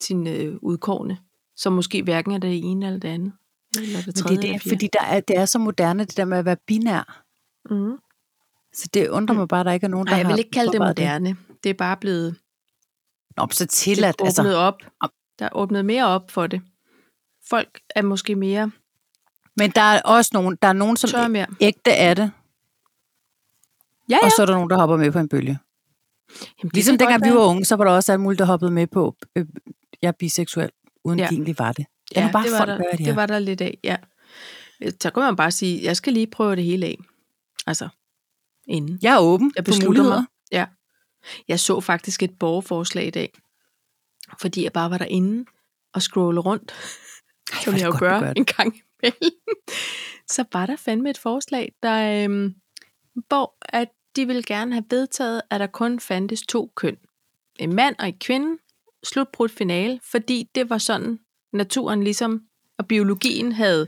[SPEAKER 2] sin øh, udkårne, som måske hverken er det ene eller det andet. Eller det tredje
[SPEAKER 1] Men det er
[SPEAKER 2] eller
[SPEAKER 1] det,
[SPEAKER 2] fjerde.
[SPEAKER 1] fordi der er, det er så moderne, det der med at være binær.
[SPEAKER 2] Mm.
[SPEAKER 1] Så det undrer mig bare, at der ikke er nogen, der
[SPEAKER 2] Nej, jeg
[SPEAKER 1] har
[SPEAKER 2] vil ikke kalde det
[SPEAKER 1] påpeget
[SPEAKER 2] moderne. Det er bare blevet
[SPEAKER 1] Nå, men så
[SPEAKER 2] det er
[SPEAKER 1] tilladt.
[SPEAKER 2] åbnet
[SPEAKER 1] Altså.
[SPEAKER 2] op. Der er åbnet mere op for det. Folk er måske mere
[SPEAKER 1] Men der er også nogen, der er nogen, som
[SPEAKER 2] tør mere.
[SPEAKER 1] ægte er det,
[SPEAKER 2] Ja,
[SPEAKER 1] ja.
[SPEAKER 2] ja.
[SPEAKER 1] og så er der nogen, der hopper med på en bølge.
[SPEAKER 2] Jamen, det
[SPEAKER 1] Ligesom
[SPEAKER 2] kan
[SPEAKER 1] dengang
[SPEAKER 2] godt
[SPEAKER 1] vi
[SPEAKER 2] være.
[SPEAKER 1] var unge, så var der også alt muligt, der hoppede med på, øh, jeg er biseksuel, uden
[SPEAKER 2] Ja.
[SPEAKER 1] ja. de egentlig var det. Ja,
[SPEAKER 2] Ja,
[SPEAKER 1] bare
[SPEAKER 2] det var,
[SPEAKER 1] folk
[SPEAKER 2] der,
[SPEAKER 1] være, de
[SPEAKER 2] det
[SPEAKER 1] er.
[SPEAKER 2] var der lidt af, ja. Øh, Så kan man bare sige, jeg skal lige prøve det hele af. Altså, inden.
[SPEAKER 1] Jeg er åben
[SPEAKER 2] Jeg
[SPEAKER 1] jeg
[SPEAKER 2] beslutter
[SPEAKER 1] for muligheder.
[SPEAKER 2] Ja. Jeg så faktisk et borgerforslag i dag, fordi jeg bare var derinde og scrollede rundt, Ej, som
[SPEAKER 1] hvor er det
[SPEAKER 2] jeg jo
[SPEAKER 1] godt, du
[SPEAKER 2] gør,
[SPEAKER 1] gør
[SPEAKER 2] gør
[SPEAKER 1] det.
[SPEAKER 2] en gang imellem. Så var der fandme et forslag, der øhm, hvor at de ville gerne have vedtaget, at der kun fandtes to køn. En mand og en kvinde. Slutbrudt finale, fordi det var sådan, naturen ligesom, og biologien havde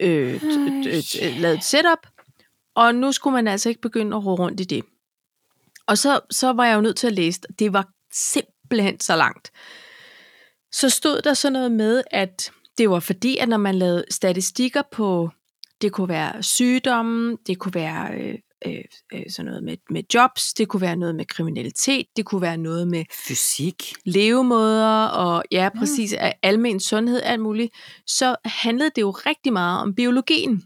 [SPEAKER 2] øh, t- t- t- lavet et setup, og nu skulle man altså ikke begynde at rode rundt i det. Og så, så var jeg jo nødt til at læse det. Det var simpelthen så langt. Så stod der sådan noget med, at det var fordi, at når man lavede statistikker på, det kunne være sygdomme, det kunne være øh, øh, øh, sådan noget med, med jobs, det kunne være noget med kriminalitet, det kunne være noget med
[SPEAKER 1] Fysik.
[SPEAKER 2] levemåder og ja, præcis, mm. almen sundhed, alt muligt, så handlede det jo rigtig meget om biologien.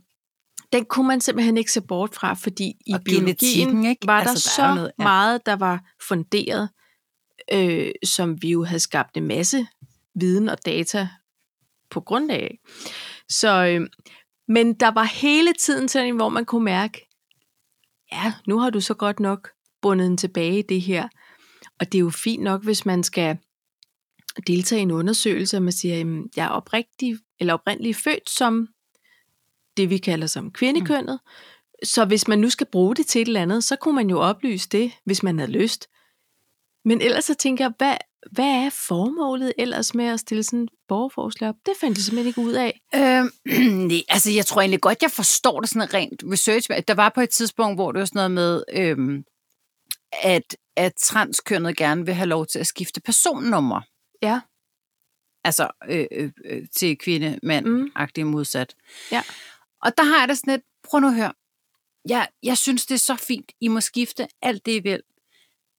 [SPEAKER 2] Den kunne man simpelthen ikke se bort fra, fordi i
[SPEAKER 1] Og
[SPEAKER 2] biologien
[SPEAKER 1] genetikken, ikke?
[SPEAKER 2] var altså, der,
[SPEAKER 1] Altså,
[SPEAKER 2] så
[SPEAKER 1] der er jo
[SPEAKER 2] noget,
[SPEAKER 1] noget,
[SPEAKER 2] ja.
[SPEAKER 1] ja.
[SPEAKER 2] meget, der var funderet, øh, som vi jo havde skabt en masse viden og data på grundlag af. Så, øh, men der var hele tiden sådan, en, hvor man kunne mærke, ja, nu har du så godt nok bundet den tilbage i det her. Og det er jo fint nok, hvis man skal deltage i en undersøgelse, og man siger, jamen, jeg er oprigtig, eller oprindeligt født som det, vi kalder som kvindekønnet.
[SPEAKER 1] Mm.
[SPEAKER 2] Så hvis man nu skal bruge det til et eller andet, så kunne man jo oplyse det, hvis man havde lyst. Men ellers så tænker jeg, hvad, hvad er formålet ellers med at stille sådan et borgerforslag op? Det fandt jeg simpelthen ikke ud af.
[SPEAKER 1] Øhm, nej, altså jeg tror egentlig godt, jeg forstår det sådan rent research. Der var på et tidspunkt, hvor det var sådan noget med, øhm, at, at transkønnet gerne vil have lov til at skifte personnummer.
[SPEAKER 2] Ja.
[SPEAKER 1] Altså øh, øh, øh, til kvinde, mand,
[SPEAKER 2] Mm.
[SPEAKER 1] mm. agtig modsat.
[SPEAKER 2] Ja.
[SPEAKER 1] Og der har jeg da sådan lidt, prøv nu at høre. Jeg, jeg synes, det er så fint, I må skifte alt det, I vil.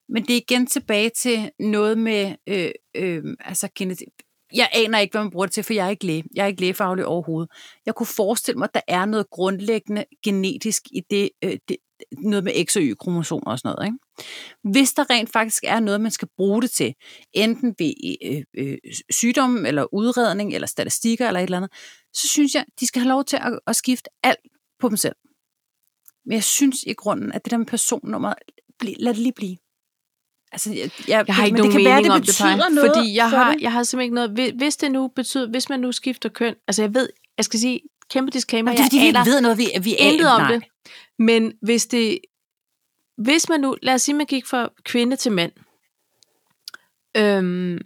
[SPEAKER 1] Men det er igen tilbage til noget med, øh, øh, altså genetik. Jeg aner ikke, hvad man bruger det til, for jeg er ikke læge. Jeg er ikke lægefaglig overhovedet. Jeg kunne forestille mig, at der er noget grundlæggende genetisk i det, øh, det noget med X og Y-kromosomer og sådan noget. Ikke? Hvis der rent faktisk er noget, man skal bruge det til, enten ved øh, øh, sygdom, eller udredning, eller statistikker, eller et eller andet, så synes jeg, de skal have lov til at, at skifte alt på dem selv. Men jeg synes i grunden, at det der med personnummer, bli- lad det lige blive. Altså, jeg, jeg,
[SPEAKER 2] Jeg har ikke
[SPEAKER 1] men
[SPEAKER 2] nogen
[SPEAKER 1] det kan
[SPEAKER 2] mening
[SPEAKER 1] være, det
[SPEAKER 2] om det,
[SPEAKER 1] betyder
[SPEAKER 2] Paj,
[SPEAKER 1] noget
[SPEAKER 2] fordi jeg
[SPEAKER 1] for
[SPEAKER 2] har,
[SPEAKER 1] dig.
[SPEAKER 2] jeg har simpelthen ikke noget... hvi- Hvis det nu betyder... Hvis man nu skifter køn... Altså jeg ved... Jeg skal sige kæmpe disclaimer.
[SPEAKER 1] Nå, det er, fordi vi
[SPEAKER 2] jeg aner
[SPEAKER 1] ikke ved noget, vi, vi
[SPEAKER 2] intet om
[SPEAKER 1] nej.
[SPEAKER 2] det. Men hvis det... Hvis man nu... Lad os sige, man gik fra kvinde til mand. Øhm,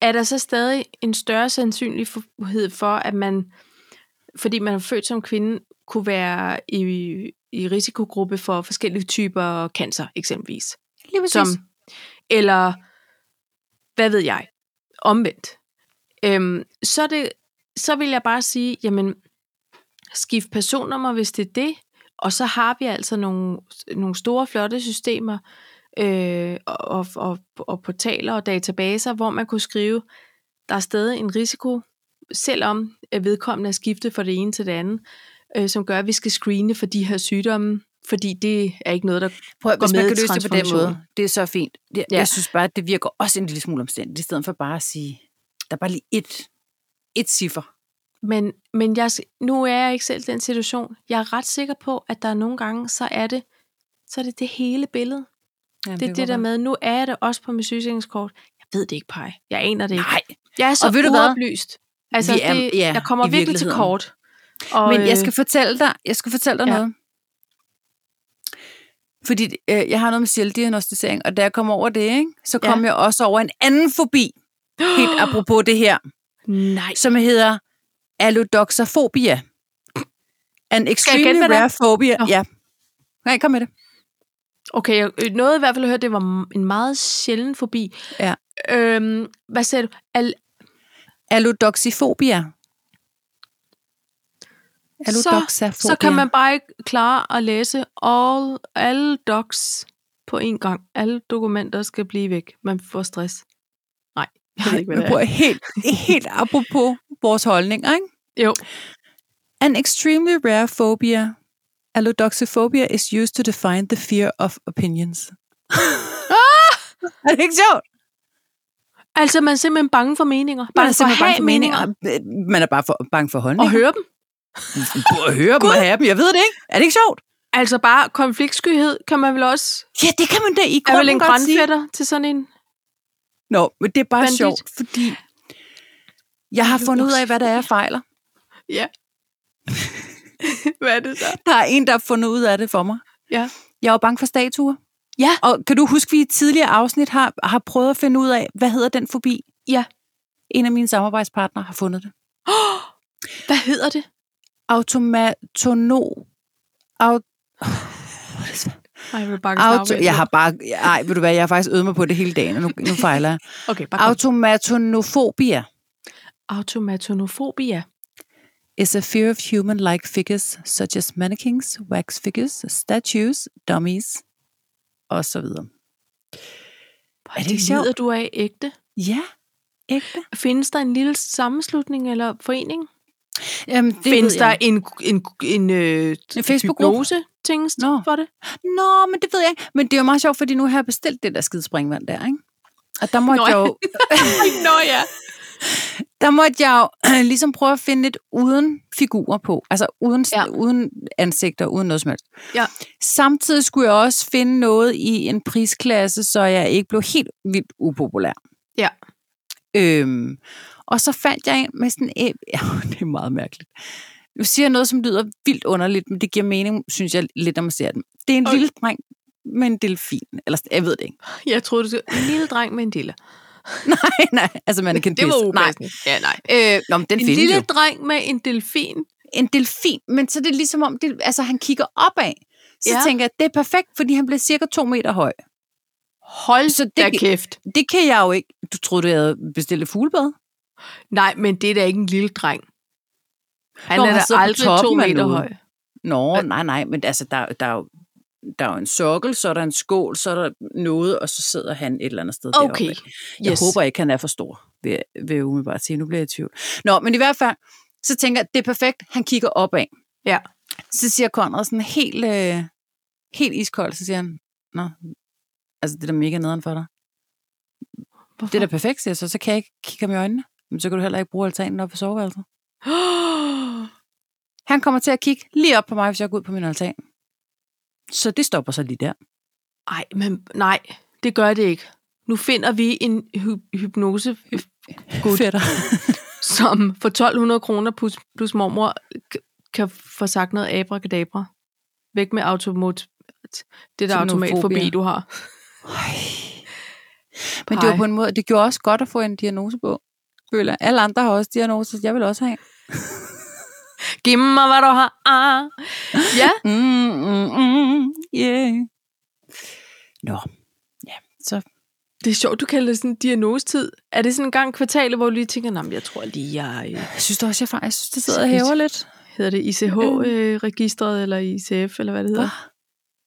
[SPEAKER 2] er der så stadig en større sandsynlighed for, at man, fordi man er født som kvinde, kunne være i, i risikogruppe for forskellige typer cancer, eksempelvis?
[SPEAKER 1] Lige
[SPEAKER 2] som,
[SPEAKER 1] præcis.
[SPEAKER 2] eller hvad ved jeg, omvendt, øhm, så, er det, så vil jeg bare sige, jamen, skift personnummer, hvis det er det, og så har vi altså nogle, nogle store, flotte systemer øh, og, og, og, og portaler og databaser, hvor man kunne skrive, der er stadig en risiko, selvom øh, vedkommende er skiftet fra det ene til det andet, øh, som gør, at vi skal screene for de her sygdomme, fordi det er ikke noget, der
[SPEAKER 1] Prøv, at-
[SPEAKER 2] går
[SPEAKER 1] hvis man
[SPEAKER 2] med
[SPEAKER 1] kan
[SPEAKER 2] i
[SPEAKER 1] løse det på den
[SPEAKER 2] transformationen.
[SPEAKER 1] måde, det er så fint. Jeg,
[SPEAKER 2] Ja.
[SPEAKER 1] ja. jeg synes bare, at det virker også en lille smule omstændigt, i stedet for bare at sige, der er bare lige et, et ciffer.
[SPEAKER 2] Men, men jeg, nu er jeg ikke selv i den situation. Jeg er ret sikker på, at der er nogle gange, så er det, så er det, det hele billede.
[SPEAKER 1] Jamen,
[SPEAKER 2] det er det, der med, nu er jeg det også på mit sygesikringskort. Jeg ved det ikke, Paj. Jeg aner det ikke.
[SPEAKER 1] Nej,
[SPEAKER 2] Jeg er så
[SPEAKER 1] og ved du hvad?
[SPEAKER 2] uoplyst. Altså,
[SPEAKER 1] Vi er-
[SPEAKER 2] det,
[SPEAKER 1] ja,
[SPEAKER 2] jeg kommer
[SPEAKER 1] i
[SPEAKER 2] virkelig til
[SPEAKER 1] virkeligheden.
[SPEAKER 2] kort. Og,
[SPEAKER 1] men jeg
[SPEAKER 2] øh,
[SPEAKER 1] skal fortælle dig, jeg skal fortælle dig
[SPEAKER 2] ja.
[SPEAKER 1] ja. noget. Fordi øh, jeg har noget med selvdiagnostisering, og da jeg kom over det, ikke, så
[SPEAKER 2] Ja.
[SPEAKER 1] kom jeg også over en anden fobi, helt apropos det her,
[SPEAKER 2] Nej.
[SPEAKER 1] som hedder allodoxafobia. An extremely
[SPEAKER 2] gætte, hvad det er?
[SPEAKER 1] rare phobia.
[SPEAKER 2] Nå.
[SPEAKER 1] Ja. Nej, kom med det.
[SPEAKER 2] Okay, jeg øh, nåede i hvert fald at høre, at det var en meget sjælden forbi.
[SPEAKER 1] Ja.
[SPEAKER 2] Øhm, hvad sagde du? Al-
[SPEAKER 1] Allodoxifobia. Allodoxafobia.
[SPEAKER 2] så kan man bare ikke klare at læse all, alle docs på én gang. Alle dokumenter skal blive væk. Man får stress. Nej, jeg ved ikke, hvad
[SPEAKER 1] Man
[SPEAKER 2] det er.
[SPEAKER 1] bruger helt, helt apropos vores holdninger, ikke?
[SPEAKER 2] Jo.
[SPEAKER 1] An extremely rare phobia, allodoxophobia, is used to define the fear of opinions. Er det ikke sjovt?
[SPEAKER 2] Altså, man er simpelthen bange for meninger. Bange for at have meninger.
[SPEAKER 1] Ah, Man er bare for, bange for
[SPEAKER 2] Og
[SPEAKER 1] holdninger.
[SPEAKER 2] høre dem.
[SPEAKER 1] Og høre dem og have dem. Jeg ved det ikke. Er det ikke sjovt?
[SPEAKER 2] Altså bare konfliktskyhed kan man vel også...
[SPEAKER 1] Ja, det kan man da i
[SPEAKER 2] Er vel en
[SPEAKER 1] grunden godt sige.
[SPEAKER 2] grænfætter til sådan en...
[SPEAKER 1] Nå, men det er bare
[SPEAKER 2] Bandit.
[SPEAKER 1] sjovt, fordi jeg har fundet ud af, hvad der er jeg fejler.
[SPEAKER 2] Ja. hvad er det så?
[SPEAKER 1] Der er en, der har fundet ud af det for mig.
[SPEAKER 2] Ja.
[SPEAKER 1] Jeg er jo bange for statuer.
[SPEAKER 2] Ja.
[SPEAKER 1] Og kan du huske, vi i et tidligere afsnit har, har prøvet at finde ud af, hvad hedder den fobi?
[SPEAKER 2] Ja.
[SPEAKER 1] En af mine samarbejdspartnere har fundet det.
[SPEAKER 2] Hvad hedder det?
[SPEAKER 1] Automatono. Au-
[SPEAKER 2] Ej, jeg vil bare
[SPEAKER 1] auto, jeg har bare... Nej, ved du hvad, jeg har faktisk øvet mig på det hele dagen, og nu, nu fejler jeg.
[SPEAKER 2] Okay, bare Aut-
[SPEAKER 1] Automatonofobia
[SPEAKER 2] automatonofobia.
[SPEAKER 1] is a fear of human-like figures, such as mannequins, wax figures, statues, dummies, og så videre.
[SPEAKER 2] Hvor
[SPEAKER 1] Er det
[SPEAKER 2] det
[SPEAKER 1] ikke sjovt?
[SPEAKER 2] lider du af ægte?
[SPEAKER 1] Ja, ægte.
[SPEAKER 2] Findes der en lille sammenslutning eller forening?
[SPEAKER 1] Jamen, Øhm, det
[SPEAKER 2] Findes
[SPEAKER 1] ved
[SPEAKER 2] der
[SPEAKER 1] jeg.
[SPEAKER 2] en, en, en, øh,
[SPEAKER 1] En Facebook-gruppe?
[SPEAKER 2] hypnose-ting
[SPEAKER 1] Nå.
[SPEAKER 2] for det?
[SPEAKER 1] Nå, men det ved jeg ikke. Men det er jo meget sjovt, fordi nu har jeg bestilt det der skidespringvand der, ikke? Og der måtte,
[SPEAKER 2] Nå,
[SPEAKER 1] jeg
[SPEAKER 2] ja.
[SPEAKER 1] jo,
[SPEAKER 2] Nå ja.
[SPEAKER 1] der måtte jeg jo ligesom prøve at finde et uden figurer på. Altså uden, ja.
[SPEAKER 2] Ja.
[SPEAKER 1] uden ansigter, uden noget som helst.
[SPEAKER 2] Ja.
[SPEAKER 1] Samtidig skulle jeg også finde noget i en prisklasse, så jeg ikke blev helt vildt upopulær.
[SPEAKER 2] Ja.
[SPEAKER 1] Øhm, og så fandt jeg en med sådan en... Ja, det er meget mærkeligt. Nu siger jeg noget, som lyder vildt underligt, men det giver mening, synes jeg, lidt, når man ser den. Det er en
[SPEAKER 2] Okay.
[SPEAKER 1] okay. lille dreng med en delfin. Eller sådan- jeg ved det ikke.
[SPEAKER 2] Jeg troede, du skulle... En lille dreng med en dille.
[SPEAKER 1] nej, nej. Altså, man kan
[SPEAKER 2] Det var
[SPEAKER 1] pisse. Nej.
[SPEAKER 2] upassende. Ja, nej.
[SPEAKER 1] Øh, nå, men den
[SPEAKER 2] En
[SPEAKER 1] findes
[SPEAKER 2] lille
[SPEAKER 1] jo.
[SPEAKER 2] dreng med en delfin.
[SPEAKER 1] en delfin, men så er det ligesom om, det, altså han kigger opad. Så
[SPEAKER 2] Ja.
[SPEAKER 1] ja. tænker jeg, det er perfekt, fordi han bliver cirka to meter høj.
[SPEAKER 2] Hold
[SPEAKER 1] Så
[SPEAKER 2] så
[SPEAKER 1] det
[SPEAKER 2] da
[SPEAKER 1] gi-
[SPEAKER 2] kæft.
[SPEAKER 1] Det kan jeg jo ikke. Du troede, du havde bestilt et fuglebad?
[SPEAKER 2] Nej, men det er da ikke en lille dreng. Han
[SPEAKER 1] Nå,
[SPEAKER 2] Nå, er
[SPEAKER 1] han
[SPEAKER 2] da
[SPEAKER 1] sidder på
[SPEAKER 2] aldrig to
[SPEAKER 1] toppen af
[SPEAKER 2] meter
[SPEAKER 1] noget.
[SPEAKER 2] høj.
[SPEAKER 1] Nå,
[SPEAKER 2] Hvad?
[SPEAKER 1] nej, nej, men altså, der, der, er jo, der er jo en sokkel, så er der en skål, så er der noget, og så sidder han et eller andet sted deroppe.
[SPEAKER 2] Okay.
[SPEAKER 1] ikke? Jeg yes. håber ikke, han er for stor, vil, jeg- vil jeg umiddelbart sige. Nu bliver jeg i tvivl. Nå, men i hvert fald, så tænker jeg, det er perfekt. Han kigger opad.
[SPEAKER 2] Ja.
[SPEAKER 1] Så siger Conrad sådan helt, øh, helt iskold, så siger han, Nå, altså det er da mega nederen for dig.
[SPEAKER 2] Hvorfor?
[SPEAKER 1] Det er da perfekt, siger jeg så. Så kan jeg ikke kigge ham i øjnene. Men så kan du heller ikke bruge altanen op på soveværelset. Han kommer til at kigge lige op på mig, hvis jeg går ud på min altan. Så det stopper så lige der.
[SPEAKER 2] Ej, men nej, det gør det ikke. Nu finder vi en hy- hypnose, Gud.
[SPEAKER 1] Fætter.
[SPEAKER 2] som for 1200 kroner plus, plus mormor k- kan få sagt noget abracadabra. Væk med automot, det der
[SPEAKER 1] Xenofobia.
[SPEAKER 2] automatfobi, du har.
[SPEAKER 1] Men det var
[SPEAKER 2] Ej.
[SPEAKER 1] på en måde, det gjorde også godt at få en diagnose på. Føler. jeg. Alle andre har også diagnoser, så jeg vil også have.
[SPEAKER 2] Giv mig, hvad du har. Ah. Ja,
[SPEAKER 1] Mm, mm, mm, yeah. Nå, ja, så
[SPEAKER 2] det er sjovt, du kalder det sådan en diagnosetid. Er det sådan en gang i kvartalet, hvor du lige tænker, nej, jeg tror lige, jeg øh,
[SPEAKER 1] jeg synes da også, jeg faktisk synes, det sidder og
[SPEAKER 2] Skidt.
[SPEAKER 1] hæver lidt.
[SPEAKER 2] hedder det
[SPEAKER 1] Øhm.
[SPEAKER 2] ICH-registret, øh, eller ICF, eller hvad det hedder.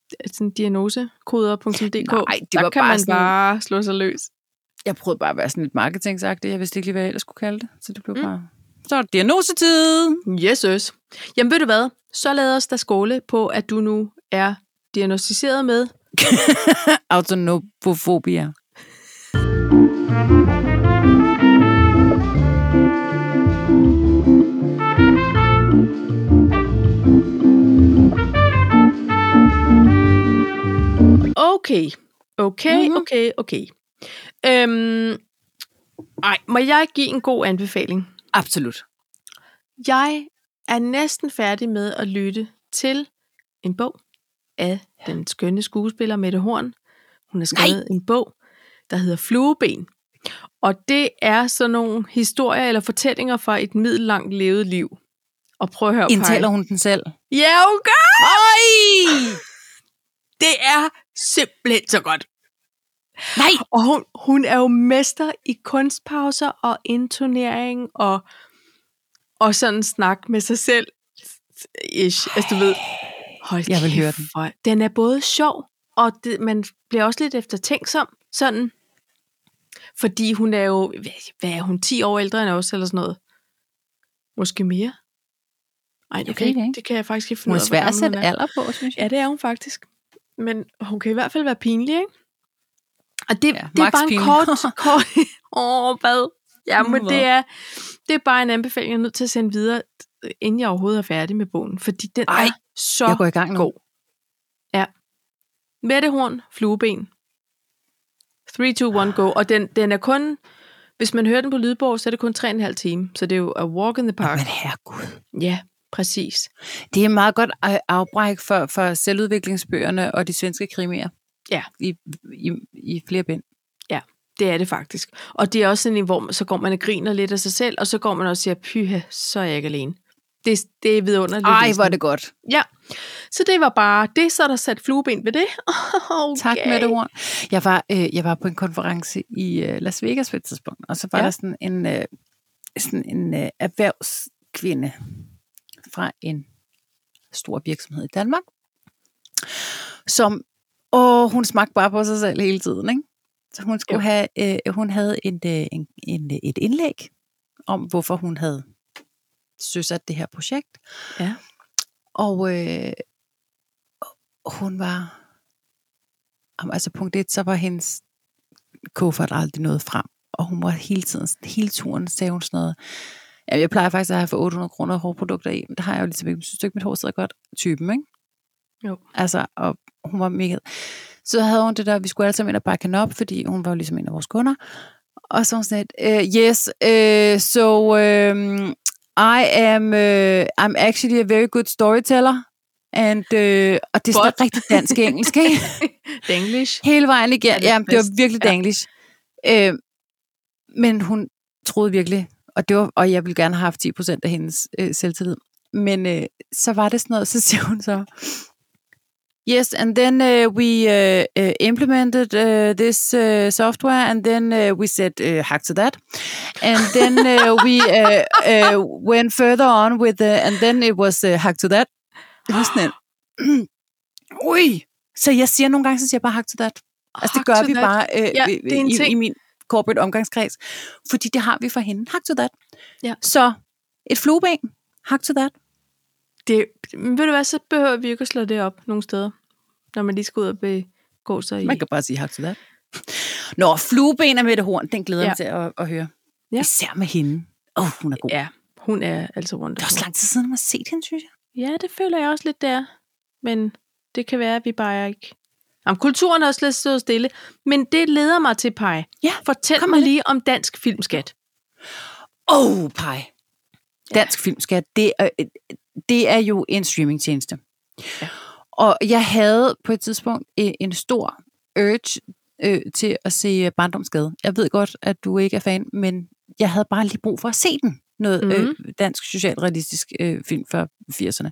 [SPEAKER 2] Det er Sådan diagnosekoder.dk.
[SPEAKER 1] Ah. Nej, det
[SPEAKER 2] der
[SPEAKER 1] var
[SPEAKER 2] kan
[SPEAKER 1] bare
[SPEAKER 2] man
[SPEAKER 1] sådan-
[SPEAKER 2] bare slå sig løs.
[SPEAKER 1] Jeg prøvede bare at være sådan lidt marketingsagtig. Jeg vidste ikke lige, hvad jeg ellers skulle kalde det. Så det blev mm. bare... Så er det diagnosetid.
[SPEAKER 2] Yes, yes. Jamen ved du hvad, så lad os da skåle på, at du nu er diagnostiseret med.
[SPEAKER 1] Autonobofobia.
[SPEAKER 2] Okay, okay,
[SPEAKER 1] Mhm.
[SPEAKER 2] mm-hmm. okay, okay. Øhm, ej, må jeg give en god anbefaling?
[SPEAKER 1] Absolut.
[SPEAKER 2] Jeg er næsten færdig med at lytte til en bog, af den skønne skuespiller Mette Horn. Hun har skrevet Nej. en bog, der hedder Flueben. Og det er sådan nogle historier eller fortællinger fra et middellangt levet liv. Og prøv at høre, Paj.
[SPEAKER 1] Indtaler hun den selv?
[SPEAKER 2] Ja, hun gør!
[SPEAKER 1] Øj!
[SPEAKER 2] Det er simpelthen så godt.
[SPEAKER 1] Nej!
[SPEAKER 2] Og hun, hun er jo mester i kunstpauser og intonering og, og sådan snak med sig selv. Ish. Altså, du ved, hold
[SPEAKER 1] Jeg vil
[SPEAKER 2] kæft,
[SPEAKER 1] høre den.
[SPEAKER 2] hvor- Den er både sjov, og det, man bliver også lidt eftertænksom, sådan. Fordi hun er jo, hvad, hvad er hun, 10 år ældre end os, eller sådan noget? Måske mere? Ej,
[SPEAKER 1] ved
[SPEAKER 2] det, kan,
[SPEAKER 1] det
[SPEAKER 2] ikke,
[SPEAKER 1] ikke.
[SPEAKER 2] det kan jeg faktisk ikke finde
[SPEAKER 1] Hun
[SPEAKER 2] ud
[SPEAKER 1] er
[SPEAKER 2] af, hvor
[SPEAKER 1] svær at
[SPEAKER 2] gammel
[SPEAKER 1] sætte
[SPEAKER 2] hun er.
[SPEAKER 1] alder på, synes jeg.
[SPEAKER 2] Ja, det er hun faktisk. Men hun kan i hvert fald være pinlig, ikke? Og det, ja,
[SPEAKER 1] Ja,
[SPEAKER 2] det er
[SPEAKER 1] max
[SPEAKER 2] bare en
[SPEAKER 1] pinlig.
[SPEAKER 2] kort... kort Åh, oh, hvad? Ja, men
[SPEAKER 1] Hvad?
[SPEAKER 2] det er, det er bare en anbefaling, jeg er nødt til at sende videre, inden jeg overhovedet er færdig med bogen. Fordi den Ej,
[SPEAKER 1] Ej,
[SPEAKER 2] er så
[SPEAKER 1] Jeg går i gang nu.
[SPEAKER 2] god. Ja. Mættehorn, flueben. 3, 2, 1, go. Og den, den er kun... Hvis man hører den på lydbog, så er det kun 3,5 time. Så det er jo a walk in the park.
[SPEAKER 1] Men herregud.
[SPEAKER 2] Ja, præcis.
[SPEAKER 1] Det er meget godt øh, afbræk for, for selvudviklingsbøgerne og de svenske krimier.
[SPEAKER 2] Ja.
[SPEAKER 1] I, i, i flere bind.
[SPEAKER 2] Det er det faktisk. Og det er også sådan en, hvor man, så går man og griner lidt af sig selv, og så går man og siger, pyha, så er jeg ikke alene. Det, det er vidunderligt.
[SPEAKER 1] Ej,
[SPEAKER 2] læsning.
[SPEAKER 1] hvor er det godt.
[SPEAKER 2] Ja. Så det var bare det, så er der sat flueben ved det. Okay.
[SPEAKER 1] Tak, Mette Horn. Jeg var, øh, jeg var på en konference i øh, Las Vegas på et tidspunkt, og så var
[SPEAKER 2] Ja.
[SPEAKER 1] ja. der sådan en, øh, sådan en øh, erhvervskvinde fra en stor virksomhed i Danmark, som, åh, hun smagte bare på sig selv hele tiden, ikke? Så hun, skulle have, øh, hun havde en, øh, en, en, øh, et indlæg om, hvorfor hun havde søsat det her projekt.
[SPEAKER 2] Ja.
[SPEAKER 1] Og øh, hun var... Jamen, Altså punkt et, så var hendes kuffert aldrig nået frem. Og hun var hele tiden, hele turen sagde hun sådan noget. Jamen, jeg plejer faktisk at have for 800 kroner hårprodukter i, men det har jeg jo ligesom ikke. Men synes du ikke, mit hår sidder godt? Typen, ikke?
[SPEAKER 2] Jo.
[SPEAKER 1] Altså, og hun var mega... Så havde hun det der, vi skulle alle sammen ind og bakke hende op, fordi hun var jo ligesom en af vores kunder. Og så var hun sådan lidt, uh, yes, uh, so um, I am, uh, I'm actually a very good storyteller. And, uh, og det er sådan
[SPEAKER 2] But-
[SPEAKER 1] rigtig dansk-engelsk, ikke?
[SPEAKER 2] English.
[SPEAKER 1] Hele vejen igen.
[SPEAKER 2] Er det
[SPEAKER 1] Ja, det var
[SPEAKER 2] bedst?
[SPEAKER 1] virkelig
[SPEAKER 2] Ja.
[SPEAKER 1] danglish. Øh, men hun troede virkelig, og, det var, og jeg ville gerne have haft 10% af hendes øh, selvtillid. Men øh, så var det sådan noget, så siger hun så, Yes, and then uh, we uh, uh, implemented uh, this uh, software, and then uh, we said uh, hack to that, and then uh, we uh, uh, went further on with, uh, and then it was uh, hack to that. Det var sådan en, ui, så jeg siger nogle gange, så siger jeg bare hack to that. Altså det
[SPEAKER 2] Fuck
[SPEAKER 1] gør
[SPEAKER 2] to
[SPEAKER 1] vi
[SPEAKER 2] that.
[SPEAKER 1] bare øh,
[SPEAKER 2] Ah, Ja,
[SPEAKER 1] ja,
[SPEAKER 2] det er en
[SPEAKER 1] i,
[SPEAKER 2] ting.
[SPEAKER 1] i min corporate omgangskreds, fordi det har vi fra hende. Hack to that.
[SPEAKER 2] Ja.
[SPEAKER 1] Så et flueben, hack to that.
[SPEAKER 2] Det, men ved du hvad, så behøver vi ikke at slå det op nogle steder, når man lige skal ud og begå sig i.
[SPEAKER 1] Man kan bare sige hack to that. Nå, flueben er Mette Horn, den glæder
[SPEAKER 2] Ja.
[SPEAKER 1] ja. mig til at, at høre.
[SPEAKER 2] Ja.
[SPEAKER 1] Ja. Især med hende. Åh, oh, hun er god. Ja.
[SPEAKER 2] Ja, hun er altså
[SPEAKER 1] Det er
[SPEAKER 2] wonderful.
[SPEAKER 1] også lang tid siden, man har set hende, synes jeg.
[SPEAKER 2] Ja, det føler jeg også lidt der. Men det kan være, at vi bare ikke... Jamen, kulturen er også lidt stået stille. Men det leder mig til, Paj.
[SPEAKER 1] Ja,
[SPEAKER 2] Fortæl
[SPEAKER 1] kom
[SPEAKER 2] mig
[SPEAKER 1] med det.
[SPEAKER 2] lige om dansk filmskat.
[SPEAKER 1] Åh, oh, pej. Dansk ja. Filmskat, det er, øh, det er jo en streamingtjeneste.
[SPEAKER 2] Ja.
[SPEAKER 1] Ja. Og jeg havde på et tidspunkt øh, en stor urge øh, til at se øh, Barndomsgade. Jeg ved godt, at du ikke er fan, men jeg havde bare lige brug for at se den. Noget mm. øh, dansk socialrealistisk øh, film fra 80'erne.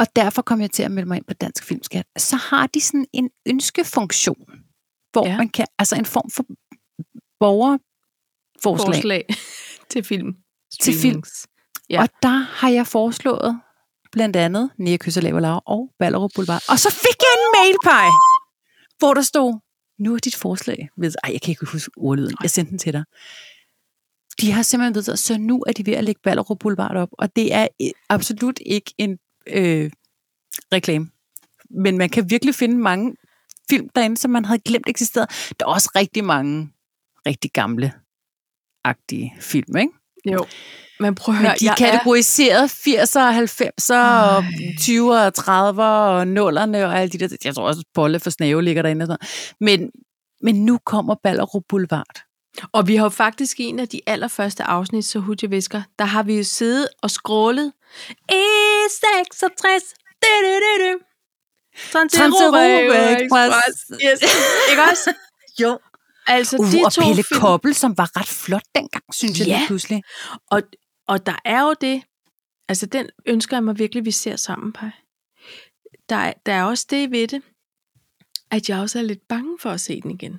[SPEAKER 1] Og derfor kom jeg til at melde mig ind på Dansk Filmskat. Så har de sådan en ønskefunktion, hvor
[SPEAKER 2] Ja.
[SPEAKER 1] ja. man kan, altså en form for borgerforslag.
[SPEAKER 2] Forslag til film.
[SPEAKER 1] Til film.
[SPEAKER 2] Streamings. Ja.
[SPEAKER 1] Ja. Og der har jeg foreslået blandt andet Nia Kysser Laver Lav og Ballerup Boulevard. Og så fik jeg en mailpej, hvor der stod, nu er dit forslag. ved- Ej, jeg kan ikke huske ordlyden. Jeg sendte den til dig. De har simpelthen vedtaget, så nu er de ved at lægge Ballerup Boulevard op. Og det er øh, absolut ikke en øh, reklame. Men man kan virkelig finde mange film derinde, som man havde glemt eksisterede. Der er også rigtig mange rigtig gamle agtige film, ikke?
[SPEAKER 2] Jo. Men prøv at
[SPEAKER 1] Nå,
[SPEAKER 2] høre,
[SPEAKER 1] de
[SPEAKER 2] jeg
[SPEAKER 1] kategoriserede 80'er, 90'er, og
[SPEAKER 2] Ej.
[SPEAKER 1] 20'er, 30'er, og 0'erne, og alle de der. Jeg tror også, Bolle for Snave ligger derinde. Og sådan. noget. Men, men nu kommer Ballerup Boulevard.
[SPEAKER 2] Er, og vi har jo faktisk i en af de allerførste afsnit, så Hudje Visker, der har vi jo siddet og skrålet. E66! E Du, du, du, du. Trans-Europa Express. Yes. Ikke også?
[SPEAKER 1] Jo.
[SPEAKER 2] Altså,
[SPEAKER 1] Uh,
[SPEAKER 2] de
[SPEAKER 1] og
[SPEAKER 2] to
[SPEAKER 1] Pelle
[SPEAKER 2] film-
[SPEAKER 1] Koppel, som var ret flot dengang, synes jeg
[SPEAKER 2] Ja.
[SPEAKER 1] lige pludselig.
[SPEAKER 2] Og, og der er jo det, altså den ønsker jeg mig virkelig, vi ser sammen, Paj. Der, er- der er også det ved det, at jeg også er lidt bange for at se den igen.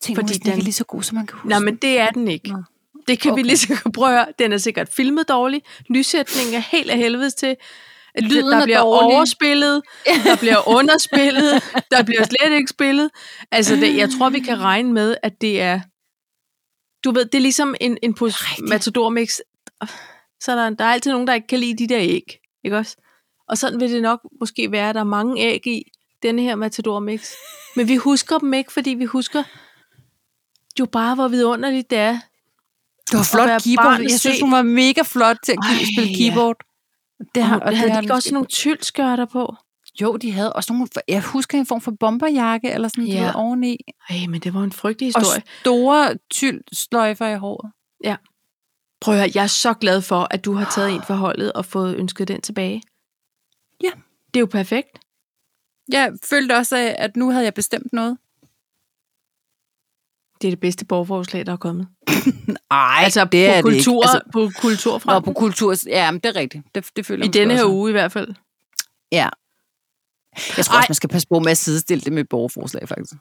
[SPEAKER 1] Tænk,
[SPEAKER 2] Fordi
[SPEAKER 1] Fordi den ikke
[SPEAKER 2] den-
[SPEAKER 1] er lige så god, som man kan huske.
[SPEAKER 2] Nej, men det er den ikke.
[SPEAKER 1] Nå.
[SPEAKER 2] Det kan okay. vi
[SPEAKER 1] Okay.
[SPEAKER 2] lige så godt prøve at høre. Den er sikkert filmet dårlig. Lyssætningen er helt af helvedes til. Lyden
[SPEAKER 1] Lyden
[SPEAKER 2] der
[SPEAKER 1] er
[SPEAKER 2] bliver
[SPEAKER 1] dårlig.
[SPEAKER 2] overspillet, der bliver underspillet, der bliver slet ikke spillet. Altså, det, jeg tror, vi kan regne med, at det er... Du ved, det er ligesom en, en pose
[SPEAKER 1] Rigtigt.
[SPEAKER 2] matadormix. Så er der, der er altid nogen, der ikke kan lide de der æg. Ikke også? Og sådan vil det nok måske være, at der er mange æg i denne her matadormix. Men vi husker dem ikke, fordi vi husker jo bare, hvor vidunderligt det er.
[SPEAKER 1] det var
[SPEAKER 2] at
[SPEAKER 1] flot
[SPEAKER 2] være
[SPEAKER 1] keyboard.
[SPEAKER 2] barn og
[SPEAKER 1] Jeg synes,
[SPEAKER 2] se-
[SPEAKER 1] hun var mega flot til at
[SPEAKER 2] Ej,
[SPEAKER 1] Ej, spille
[SPEAKER 2] ja.
[SPEAKER 1] keyboard. Det
[SPEAKER 2] Det
[SPEAKER 1] har,
[SPEAKER 2] har, og havde
[SPEAKER 1] det
[SPEAKER 2] de
[SPEAKER 1] har
[SPEAKER 2] ikke også sådan nogle tyldskørter på?
[SPEAKER 1] Jo, de havde også nogle... Jeg husker en form for bomberjakke eller sådan
[SPEAKER 2] Ja.
[SPEAKER 1] noget ja. oveni.
[SPEAKER 2] Ej, men det var en frygtelig
[SPEAKER 1] Og
[SPEAKER 2] historie.
[SPEAKER 1] store tyldsløjfer i håret.
[SPEAKER 2] Prøv at høre, jeg er så glad for, at du har taget en for holdet og fået ønsket den tilbage.
[SPEAKER 1] Ja.
[SPEAKER 2] Det er jo perfekt.
[SPEAKER 1] Jeg følte også, af, at nu havde jeg bestemt noget.
[SPEAKER 2] Det er det bedste borgerforslag, der er kommet.
[SPEAKER 1] Nej,
[SPEAKER 2] altså, på kultur,
[SPEAKER 1] Altså, mm.
[SPEAKER 2] på
[SPEAKER 1] Nå,
[SPEAKER 2] kulturfronten.
[SPEAKER 1] på kultur, ja, men det er rigtigt. Det, det føler
[SPEAKER 2] I
[SPEAKER 1] jeg måske
[SPEAKER 2] denne her
[SPEAKER 1] også.
[SPEAKER 2] uge i hvert fald.
[SPEAKER 1] Ja. Jeg tror
[SPEAKER 2] Ej.
[SPEAKER 1] også, man skal passe på med at sidestille det med borgerforslag, faktisk.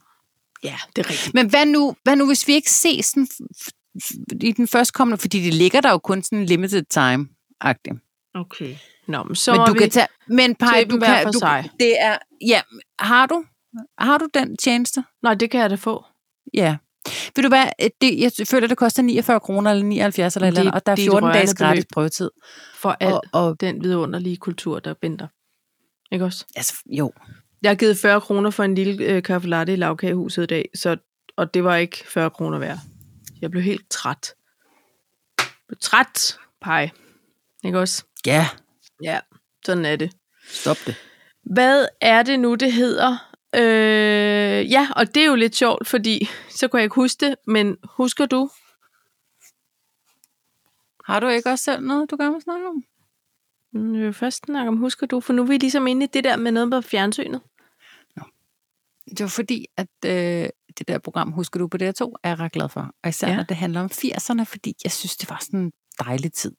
[SPEAKER 2] Ja, det er rigtigt.
[SPEAKER 1] Men hvad nu, hvad nu hvis vi ikke ses den, f- f- i den førstkommende? Fordi det ligger der jo kun sådan limited time -agtigt.
[SPEAKER 2] Okay. Nå, men så
[SPEAKER 1] men
[SPEAKER 2] må
[SPEAKER 1] du
[SPEAKER 2] vi...
[SPEAKER 1] kan tage... Men Paj,
[SPEAKER 2] til
[SPEAKER 1] du
[SPEAKER 2] dem hver
[SPEAKER 1] kan...
[SPEAKER 2] for
[SPEAKER 1] Du,
[SPEAKER 2] sig.
[SPEAKER 1] det er... Ja, har du? Har du den tjeneste?
[SPEAKER 2] Nå, det kan jeg da få.
[SPEAKER 1] Ja. Ved du hvad, øh, det, jeg føler, det koster 49 kroner eller 79 eller et
[SPEAKER 2] Det-
[SPEAKER 1] eller andet, og der er
[SPEAKER 2] det er et
[SPEAKER 1] 14 dages
[SPEAKER 2] rørende
[SPEAKER 1] gratis
[SPEAKER 2] beløb.
[SPEAKER 1] prøvetid.
[SPEAKER 2] For al
[SPEAKER 1] Og, og
[SPEAKER 2] den vidunderlige kultur, der binder. Ikke også?
[SPEAKER 1] altså, jo,
[SPEAKER 2] Jeg har givet 40 kroner for en lille øh, kaffe latte i lavkagehuset i dag, så, og det var ikke 40 kroner værd. Jeg blev helt træt. Jeg blev træt, pej. Ikke også?
[SPEAKER 1] ja,
[SPEAKER 2] Ja, sådan er det.
[SPEAKER 1] stop det.
[SPEAKER 2] Hvad er det nu, det hedder? Øh, ja, og det er jo lidt sjovt, fordi så kunne jeg ikke huske det, men husker du?
[SPEAKER 1] Har du ikke også selv noget, du gerne vil snakke om?
[SPEAKER 2] Mm, jeg vil først snakke om, husker du? For nu er vi ligesom inde i det der med noget på fjernsynet.
[SPEAKER 1] Det var fordi, at øh, det der program, husker du på DR2, er jeg ret glad for. Og især
[SPEAKER 2] Ja.
[SPEAKER 1] ja. når det handler om 80'erne, fordi jeg synes, det var sådan en dejlig tid.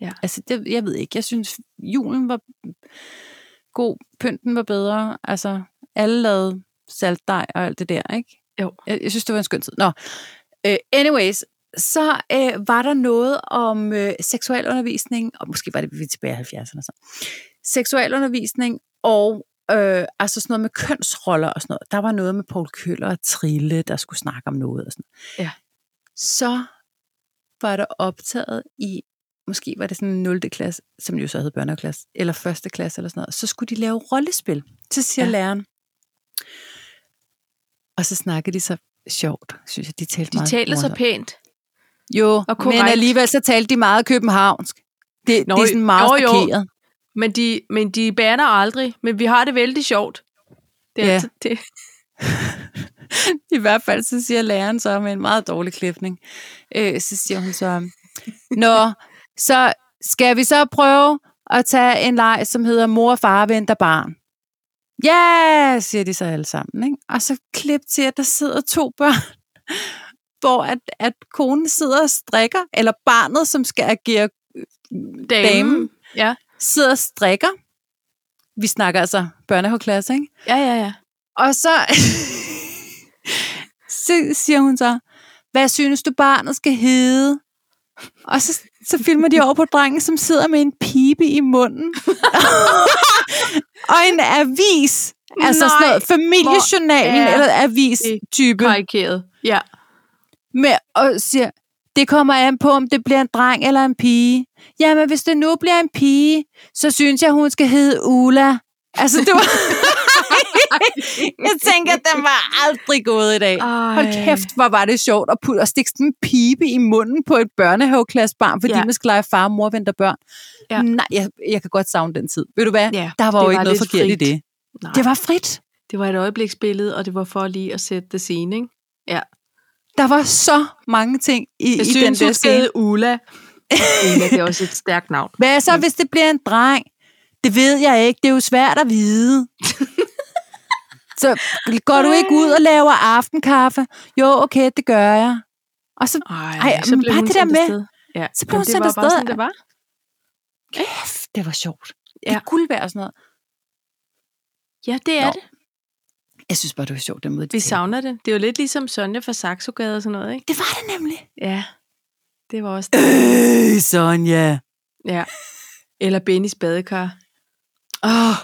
[SPEAKER 2] Ja.
[SPEAKER 1] Altså, det, jeg ved ikke, jeg synes, julen var god, pynten var bedre, altså, alle lavede saltdej og alt det der, ikke?
[SPEAKER 2] Jo.
[SPEAKER 1] Jeg, jeg synes, det var en skøn tid. Nå, øh, anyways, så øh, var der noget om øh, seksualundervisning, og måske var det vi er tilbage i 70'erne så. Seksualundervisning og øh, altså sådan noget med kønsroller og sådan noget. Der var noget med Paul Køller og Trille, der skulle snakke om noget og sådan noget.
[SPEAKER 2] Ja.
[SPEAKER 1] Så var der optaget i, måske var det sådan 0. klasse, som jo så hed børneklasse, eller 1. klasse eller sådan noget. Så skulle de lave rollespil. Så siger
[SPEAKER 2] Ja.
[SPEAKER 1] ja. læreren. Og så snakkede de så sjovt, synes jeg. De talte
[SPEAKER 2] De
[SPEAKER 1] meget
[SPEAKER 2] taler så
[SPEAKER 1] morsomt.
[SPEAKER 2] pænt.
[SPEAKER 1] Jo,
[SPEAKER 2] Og
[SPEAKER 1] men
[SPEAKER 2] korrekt.
[SPEAKER 1] alligevel så talte de meget københavnsk. Det,
[SPEAKER 2] Nå,
[SPEAKER 1] det er sådan meget
[SPEAKER 2] jo, jo.
[SPEAKER 1] parkeret.
[SPEAKER 2] Men de, men de banner aldrig. Men vi har det vældig sjovt. Det er ja.
[SPEAKER 1] Ja.
[SPEAKER 2] altid det.
[SPEAKER 1] I hvert fald så siger læreren så med en meget dårlig klipning. Øh, så siger hun så, Nå, så skal vi så prøve at tage en leg, som hedder mor og far venter barn. Ja, yeah! siger de så alle sammen. Ikke? Og så klip til, at der sidder to børn, hvor at, at konen sidder og strikker, eller barnet, som skal agere øh,
[SPEAKER 2] Damen.
[SPEAKER 1] Damen.
[SPEAKER 2] Ja.
[SPEAKER 1] sidder og strikker. Vi snakker altså børnehaveklasse, ikke?
[SPEAKER 2] ja, ja, ja.
[SPEAKER 1] Og så, så siger hun så, hvad synes du barnet skal hedde? Og så, så filmer de over på drengen, som sidder med en pibe i munden. og en avis. Altså sådan
[SPEAKER 2] Nej,
[SPEAKER 1] noget familiejournalen
[SPEAKER 2] hvor er
[SPEAKER 1] eller avis-type.
[SPEAKER 2] Karikeret. Ja.
[SPEAKER 1] Med, og siger, det kommer an på, om det bliver en dreng eller en pige. Jamen, hvis det nu bliver en pige, så synes jeg, hun skal hedde Ula. Altså, det var... jeg tænker, at den var aldrig gået i dag.
[SPEAKER 2] Ej.
[SPEAKER 1] Hold kæft, hvor var det sjovt at, putte, at stikke sådan en pibe i munden på et børnehaveklassebarn, fordi
[SPEAKER 2] Ja.
[SPEAKER 1] ja. man skal lege far og mor venter børn.
[SPEAKER 2] Ja.
[SPEAKER 1] Ja. Nej, jeg, jeg kan godt savne den tid. Ved du hvad?
[SPEAKER 2] Ja,
[SPEAKER 1] Der var
[SPEAKER 2] det
[SPEAKER 1] jo
[SPEAKER 2] var
[SPEAKER 1] ikke noget
[SPEAKER 2] lidt
[SPEAKER 1] forkert
[SPEAKER 2] frit.
[SPEAKER 1] i det.
[SPEAKER 2] Nej.
[SPEAKER 1] Det var frit.
[SPEAKER 2] det var et øjebliksbillede, og det var for lige at sætte det scene, ikke?
[SPEAKER 1] Der var så mange ting i,
[SPEAKER 2] Jeg
[SPEAKER 1] i
[SPEAKER 2] synes,
[SPEAKER 1] den der
[SPEAKER 2] hun skal
[SPEAKER 1] scene.
[SPEAKER 2] hedde Ulla. Ulla, det er også et stærkt navn.
[SPEAKER 1] Hvad så, hvis det bliver en dreng? Det ved jeg ikke. Det er jo svært at vide. så går du ikke ud og laver aftenkaffe? Jo, okay, det gør jeg. Og så Ej,
[SPEAKER 2] Ej,
[SPEAKER 1] men bare
[SPEAKER 2] hun
[SPEAKER 1] det der
[SPEAKER 2] sendt
[SPEAKER 1] med-
[SPEAKER 2] afsted. Ja.
[SPEAKER 1] så blev
[SPEAKER 2] men
[SPEAKER 1] hun sendt
[SPEAKER 2] Det var bare
[SPEAKER 1] afsted.
[SPEAKER 2] sådan, det var.
[SPEAKER 1] kæft, det var sjovt. Ja.
[SPEAKER 2] Ja.
[SPEAKER 1] Det kunne være sådan noget.
[SPEAKER 2] Ja, det er
[SPEAKER 1] Nå.
[SPEAKER 2] det.
[SPEAKER 1] Jeg synes bare, det var sjovt, den måde. de
[SPEAKER 2] Vi
[SPEAKER 1] talte.
[SPEAKER 2] savner det. Det er jo lidt ligesom Sonja fra Saxogade og sådan noget, ikke?
[SPEAKER 1] Det var det nemlig.
[SPEAKER 2] Ja, det var også
[SPEAKER 1] Øh, Sonja.
[SPEAKER 2] Ja. Eller Bennys badekar. Åh,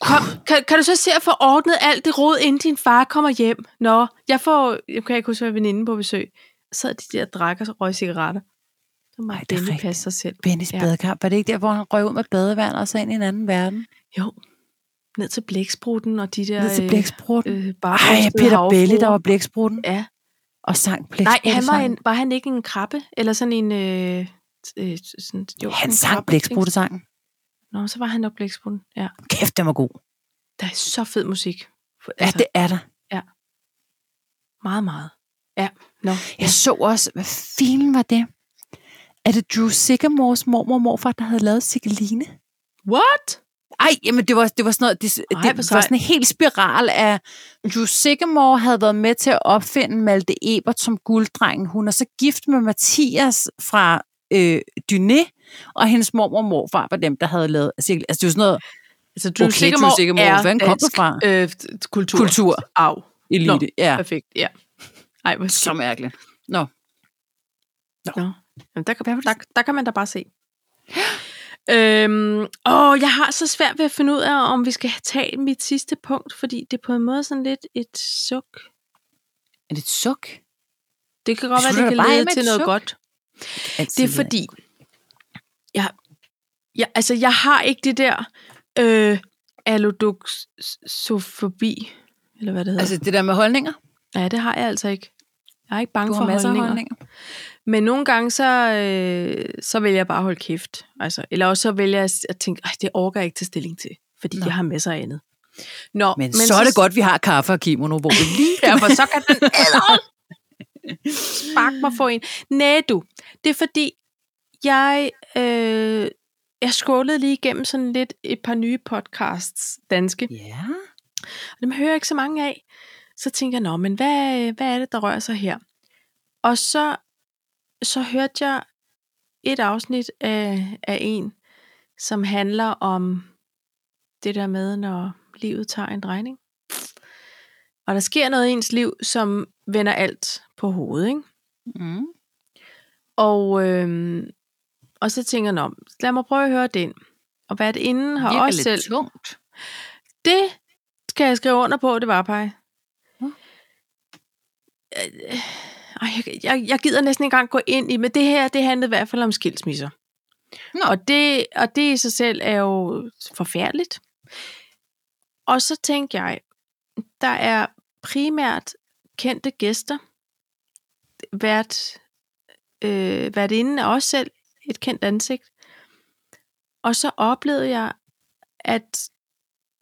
[SPEAKER 2] kom, kan, kan du så se at få ordnet alt det rod, inden din far kommer hjem? Nå, jeg får, jeg kan ikke huske, hvad veninde på besøg. Så sad de der og drak og røg cigaretter. Så må
[SPEAKER 1] Ej, det er
[SPEAKER 2] Benny
[SPEAKER 1] rigtigt.
[SPEAKER 2] passe sig selv.
[SPEAKER 1] Bennys
[SPEAKER 2] Ja.
[SPEAKER 1] ja. badekamp. Var det ikke der, hvor han røg ud med badevand og så ind i en anden verden?
[SPEAKER 2] Jo, ned til blæksprutten og de der...
[SPEAKER 1] Ja, Ned til
[SPEAKER 2] øh,
[SPEAKER 1] blæksprutten.
[SPEAKER 2] Øh,
[SPEAKER 1] Ej,
[SPEAKER 2] barbrystede
[SPEAKER 1] Peter Belli, der
[SPEAKER 2] havfruer.
[SPEAKER 1] var blæksprutten
[SPEAKER 2] Ja.
[SPEAKER 1] og sang
[SPEAKER 2] Nej,
[SPEAKER 1] blæksprutten.
[SPEAKER 2] han var, en, var han ikke en krabbe? Eller sådan en... Øh, øh, sådan, jo,
[SPEAKER 1] han
[SPEAKER 2] en
[SPEAKER 1] sang
[SPEAKER 2] krabbe, ikke?
[SPEAKER 1] blæksprutte-sangen.
[SPEAKER 2] Nå, så var han nok blæksprutten. Ja.
[SPEAKER 1] Kæft, den var god.
[SPEAKER 2] Der er så fed musik. altså,
[SPEAKER 1] Ja, det er der.
[SPEAKER 2] Meget, meget. Ja, nå.
[SPEAKER 1] Jeg så også, hvad filen var det? Er det Drew Sigamores mormor og morfar, der havde lavet Cickeline?
[SPEAKER 2] What?
[SPEAKER 1] Ej, jamen det var, det var sådan noget, det,
[SPEAKER 2] Ej,
[SPEAKER 1] det
[SPEAKER 2] hvor
[SPEAKER 1] var
[SPEAKER 2] sejt.
[SPEAKER 1] sådan en helt spiral af, Drew Sigamore havde været med til at opfinde Malte Ebert som gulddrengen. Hun er så gift med Mathias fra øh, Dyné, og hendes mormor og morfar var dem, der havde lavet cirkel. Altså det var sådan noget
[SPEAKER 2] Altså,
[SPEAKER 1] Drew Sigamore er
[SPEAKER 2] hvor han
[SPEAKER 1] dansk,
[SPEAKER 2] fra? Øh, kultur.
[SPEAKER 1] Kultur.
[SPEAKER 2] Au.
[SPEAKER 1] elite. Nå. Ja,
[SPEAKER 2] Perfekt, ja. Ej, hvor
[SPEAKER 1] så mærkeligt.
[SPEAKER 2] Nå. Jamen, der, kan- der, der kan man da bare se. Øhm, åh, jeg har så svært ved at finde ud af, om vi skal tage mit sidste punkt, fordi det er på en måde sådan lidt et suk.
[SPEAKER 1] Er det et suk?
[SPEAKER 2] Det kan godt
[SPEAKER 1] Vi
[SPEAKER 2] være,
[SPEAKER 1] slutter
[SPEAKER 2] det kan
[SPEAKER 1] bare af
[SPEAKER 2] lede
[SPEAKER 1] med et
[SPEAKER 2] til noget
[SPEAKER 1] suk.
[SPEAKER 2] godt. Det er
[SPEAKER 1] Altså,
[SPEAKER 2] fordi, jeg, jeg, altså, jeg har ikke det der øh, allodoxofobi, eller hvad det hedder.
[SPEAKER 1] Altså det der med holdninger?
[SPEAKER 2] Ja, det har jeg altså ikke. Jeg er ikke bange
[SPEAKER 1] Du
[SPEAKER 2] for
[SPEAKER 1] har masser af
[SPEAKER 2] holdninger.
[SPEAKER 1] holdninger.
[SPEAKER 2] Men nogle gange, så, øh, så vælger jeg bare at holde kæft. Altså, eller også så vælger jeg at s- at tænke, at det orker jeg ikke til stilling til, fordi Nå.
[SPEAKER 1] Nå.
[SPEAKER 2] jeg har masser af andet. Nå,
[SPEAKER 1] Men, men så er det godt, vi har kaffe og kimono, hvor vi lige...
[SPEAKER 2] Ja, for så kan den æderholde. Spark mig for en. Nej, du. Det er fordi, jeg, øh, jeg skålede lige igennem sådan lidt et par nye podcasts danske.
[SPEAKER 1] ja.
[SPEAKER 2] Og dem hører jeg ikke så mange af. Så tænker jeg, nå, men hvad, hvad er det, der rører sig her? Og så, så hørte jeg et afsnit af, af en, som handler om det der med, når livet tager en drejning. Og der sker noget i ens liv, som vender alt på hovedet, ikke?
[SPEAKER 1] Mm.
[SPEAKER 2] Og, øhm, og så tænker jeg, nå, lad mig prøve at høre den. Og hvad det inden har
[SPEAKER 1] Virker
[SPEAKER 2] også
[SPEAKER 1] lidt
[SPEAKER 2] selv
[SPEAKER 1] tungt.
[SPEAKER 2] det skal jeg skrive under på, det var pej.
[SPEAKER 1] Nå.
[SPEAKER 2] øh, Ej, jeg, jeg, jeg gider næsten ikke engang gå ind i, men det her, det handlede i hvert fald om skilsmisser.
[SPEAKER 1] Nå.
[SPEAKER 2] Og det, og det i sig selv er jo forfærdeligt. Og så tænkte jeg, der er primært kendte gæster. Vært, øh, vært inde er også selv et kendt ansigt. Og så oplevede jeg, at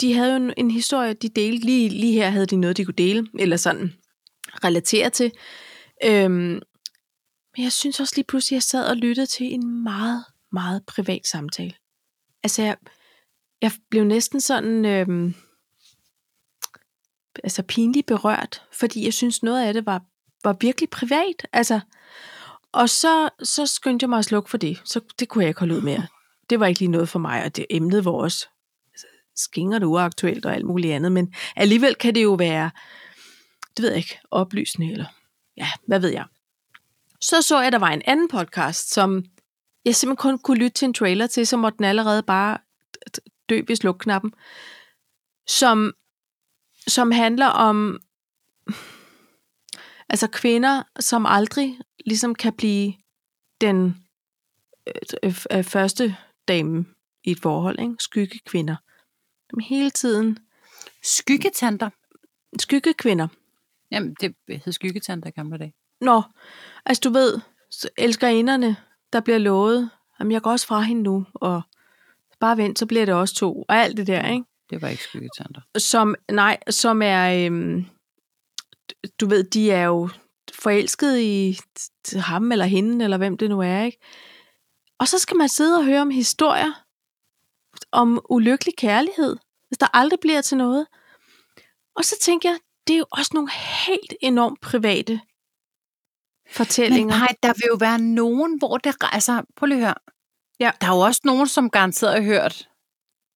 [SPEAKER 2] de havde jo en, en historie, de delte. Lige, lige her havde de noget, de kunne dele, eller sådan relatere til. Øhm, men jeg synes også lige pludselig, at jeg sad og lyttede til en meget, meget privat samtale. Altså, jeg, jeg blev næsten sådan øhm, altså pinligt berørt, fordi jeg synes, noget af det var, var virkelig privat. Altså, og så, så skyndte jeg mig at slukke for det. Så det kunne jeg ikke holde ud mere. Det var ikke lige noget for mig, og det emnet var også skinger det uaktuelt og alt muligt andet, men alligevel kan det jo være, det ved jeg ikke, oplysende eller, ja, hvad ved jeg. Så så jeg, at der var en anden podcast, som jeg simpelthen kun kunne lytte til en trailer til, så måtte den allerede bare dø ved slukknappen, som, som handler om altså kvinder, som aldrig ligesom kan blive den øh, øh, første dame i et forhold, ikke? skyggekvinder dem hele tiden.
[SPEAKER 1] Skyggetanter.
[SPEAKER 2] Skyggekvinder.
[SPEAKER 1] Jamen, det hed skyggetanter i gamle dage.
[SPEAKER 2] Nå, altså du ved, så elskerinderne, der bliver lovet, jamen jeg går også fra hende nu, og bare vent, så bliver det også to, og alt det der, ikke?
[SPEAKER 1] Det var ikke skyggetanter.
[SPEAKER 2] Som, nej, som er, øhm, du ved, de er jo forelskede i t- t- ham eller hende, eller hvem det nu er, ikke? Og så skal man sidde og høre om historier om ulykkelig kærlighed, hvis der aldrig bliver til noget. Og så tænker jeg, det er jo også nogle helt enormt private
[SPEAKER 1] Men
[SPEAKER 2] fortællinger.
[SPEAKER 1] nej, der vil jo være nogen, hvor det... Altså, prøv lige at høre.
[SPEAKER 2] Ja.
[SPEAKER 1] Der er jo også nogen, som garanteret har hørt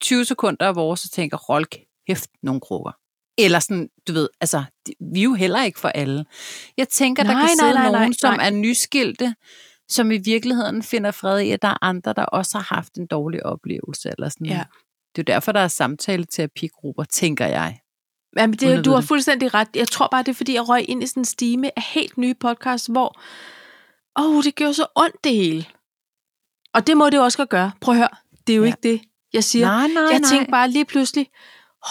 [SPEAKER 1] 20 sekunder af vores og tænker, hold kæft, nogle krukker. Eller sådan, du ved, altså, de- vi er jo heller ikke for alle. Jeg tænker, der
[SPEAKER 2] Nej,
[SPEAKER 1] kan
[SPEAKER 2] nej,
[SPEAKER 1] sidde
[SPEAKER 2] nej, nej,
[SPEAKER 1] nogen, som
[SPEAKER 2] nej.
[SPEAKER 1] er nyskilte, som i virkeligheden finder fred i, at der er andre, der også har haft en dårlig oplevelse. Eller sådan.
[SPEAKER 2] Ja.
[SPEAKER 1] Det er jo derfor, der er samtale-terapigrupper, tænker jeg.
[SPEAKER 2] Jamen,
[SPEAKER 1] Uden at
[SPEAKER 2] det, du
[SPEAKER 1] vide
[SPEAKER 2] har
[SPEAKER 1] det.
[SPEAKER 2] fuldstændig ret. Jeg tror bare, det er, fordi jeg røg ind i sådan en stime af helt nye podcasts, hvor åh, oh, det gjorde så ondt det hele. Og det må det jo også godt gøre. Prøv at høre, det er jo
[SPEAKER 1] Ja.
[SPEAKER 2] ja. ikke det, jeg siger.
[SPEAKER 1] nej, nej,
[SPEAKER 2] jeg tænkte bare lige pludselig,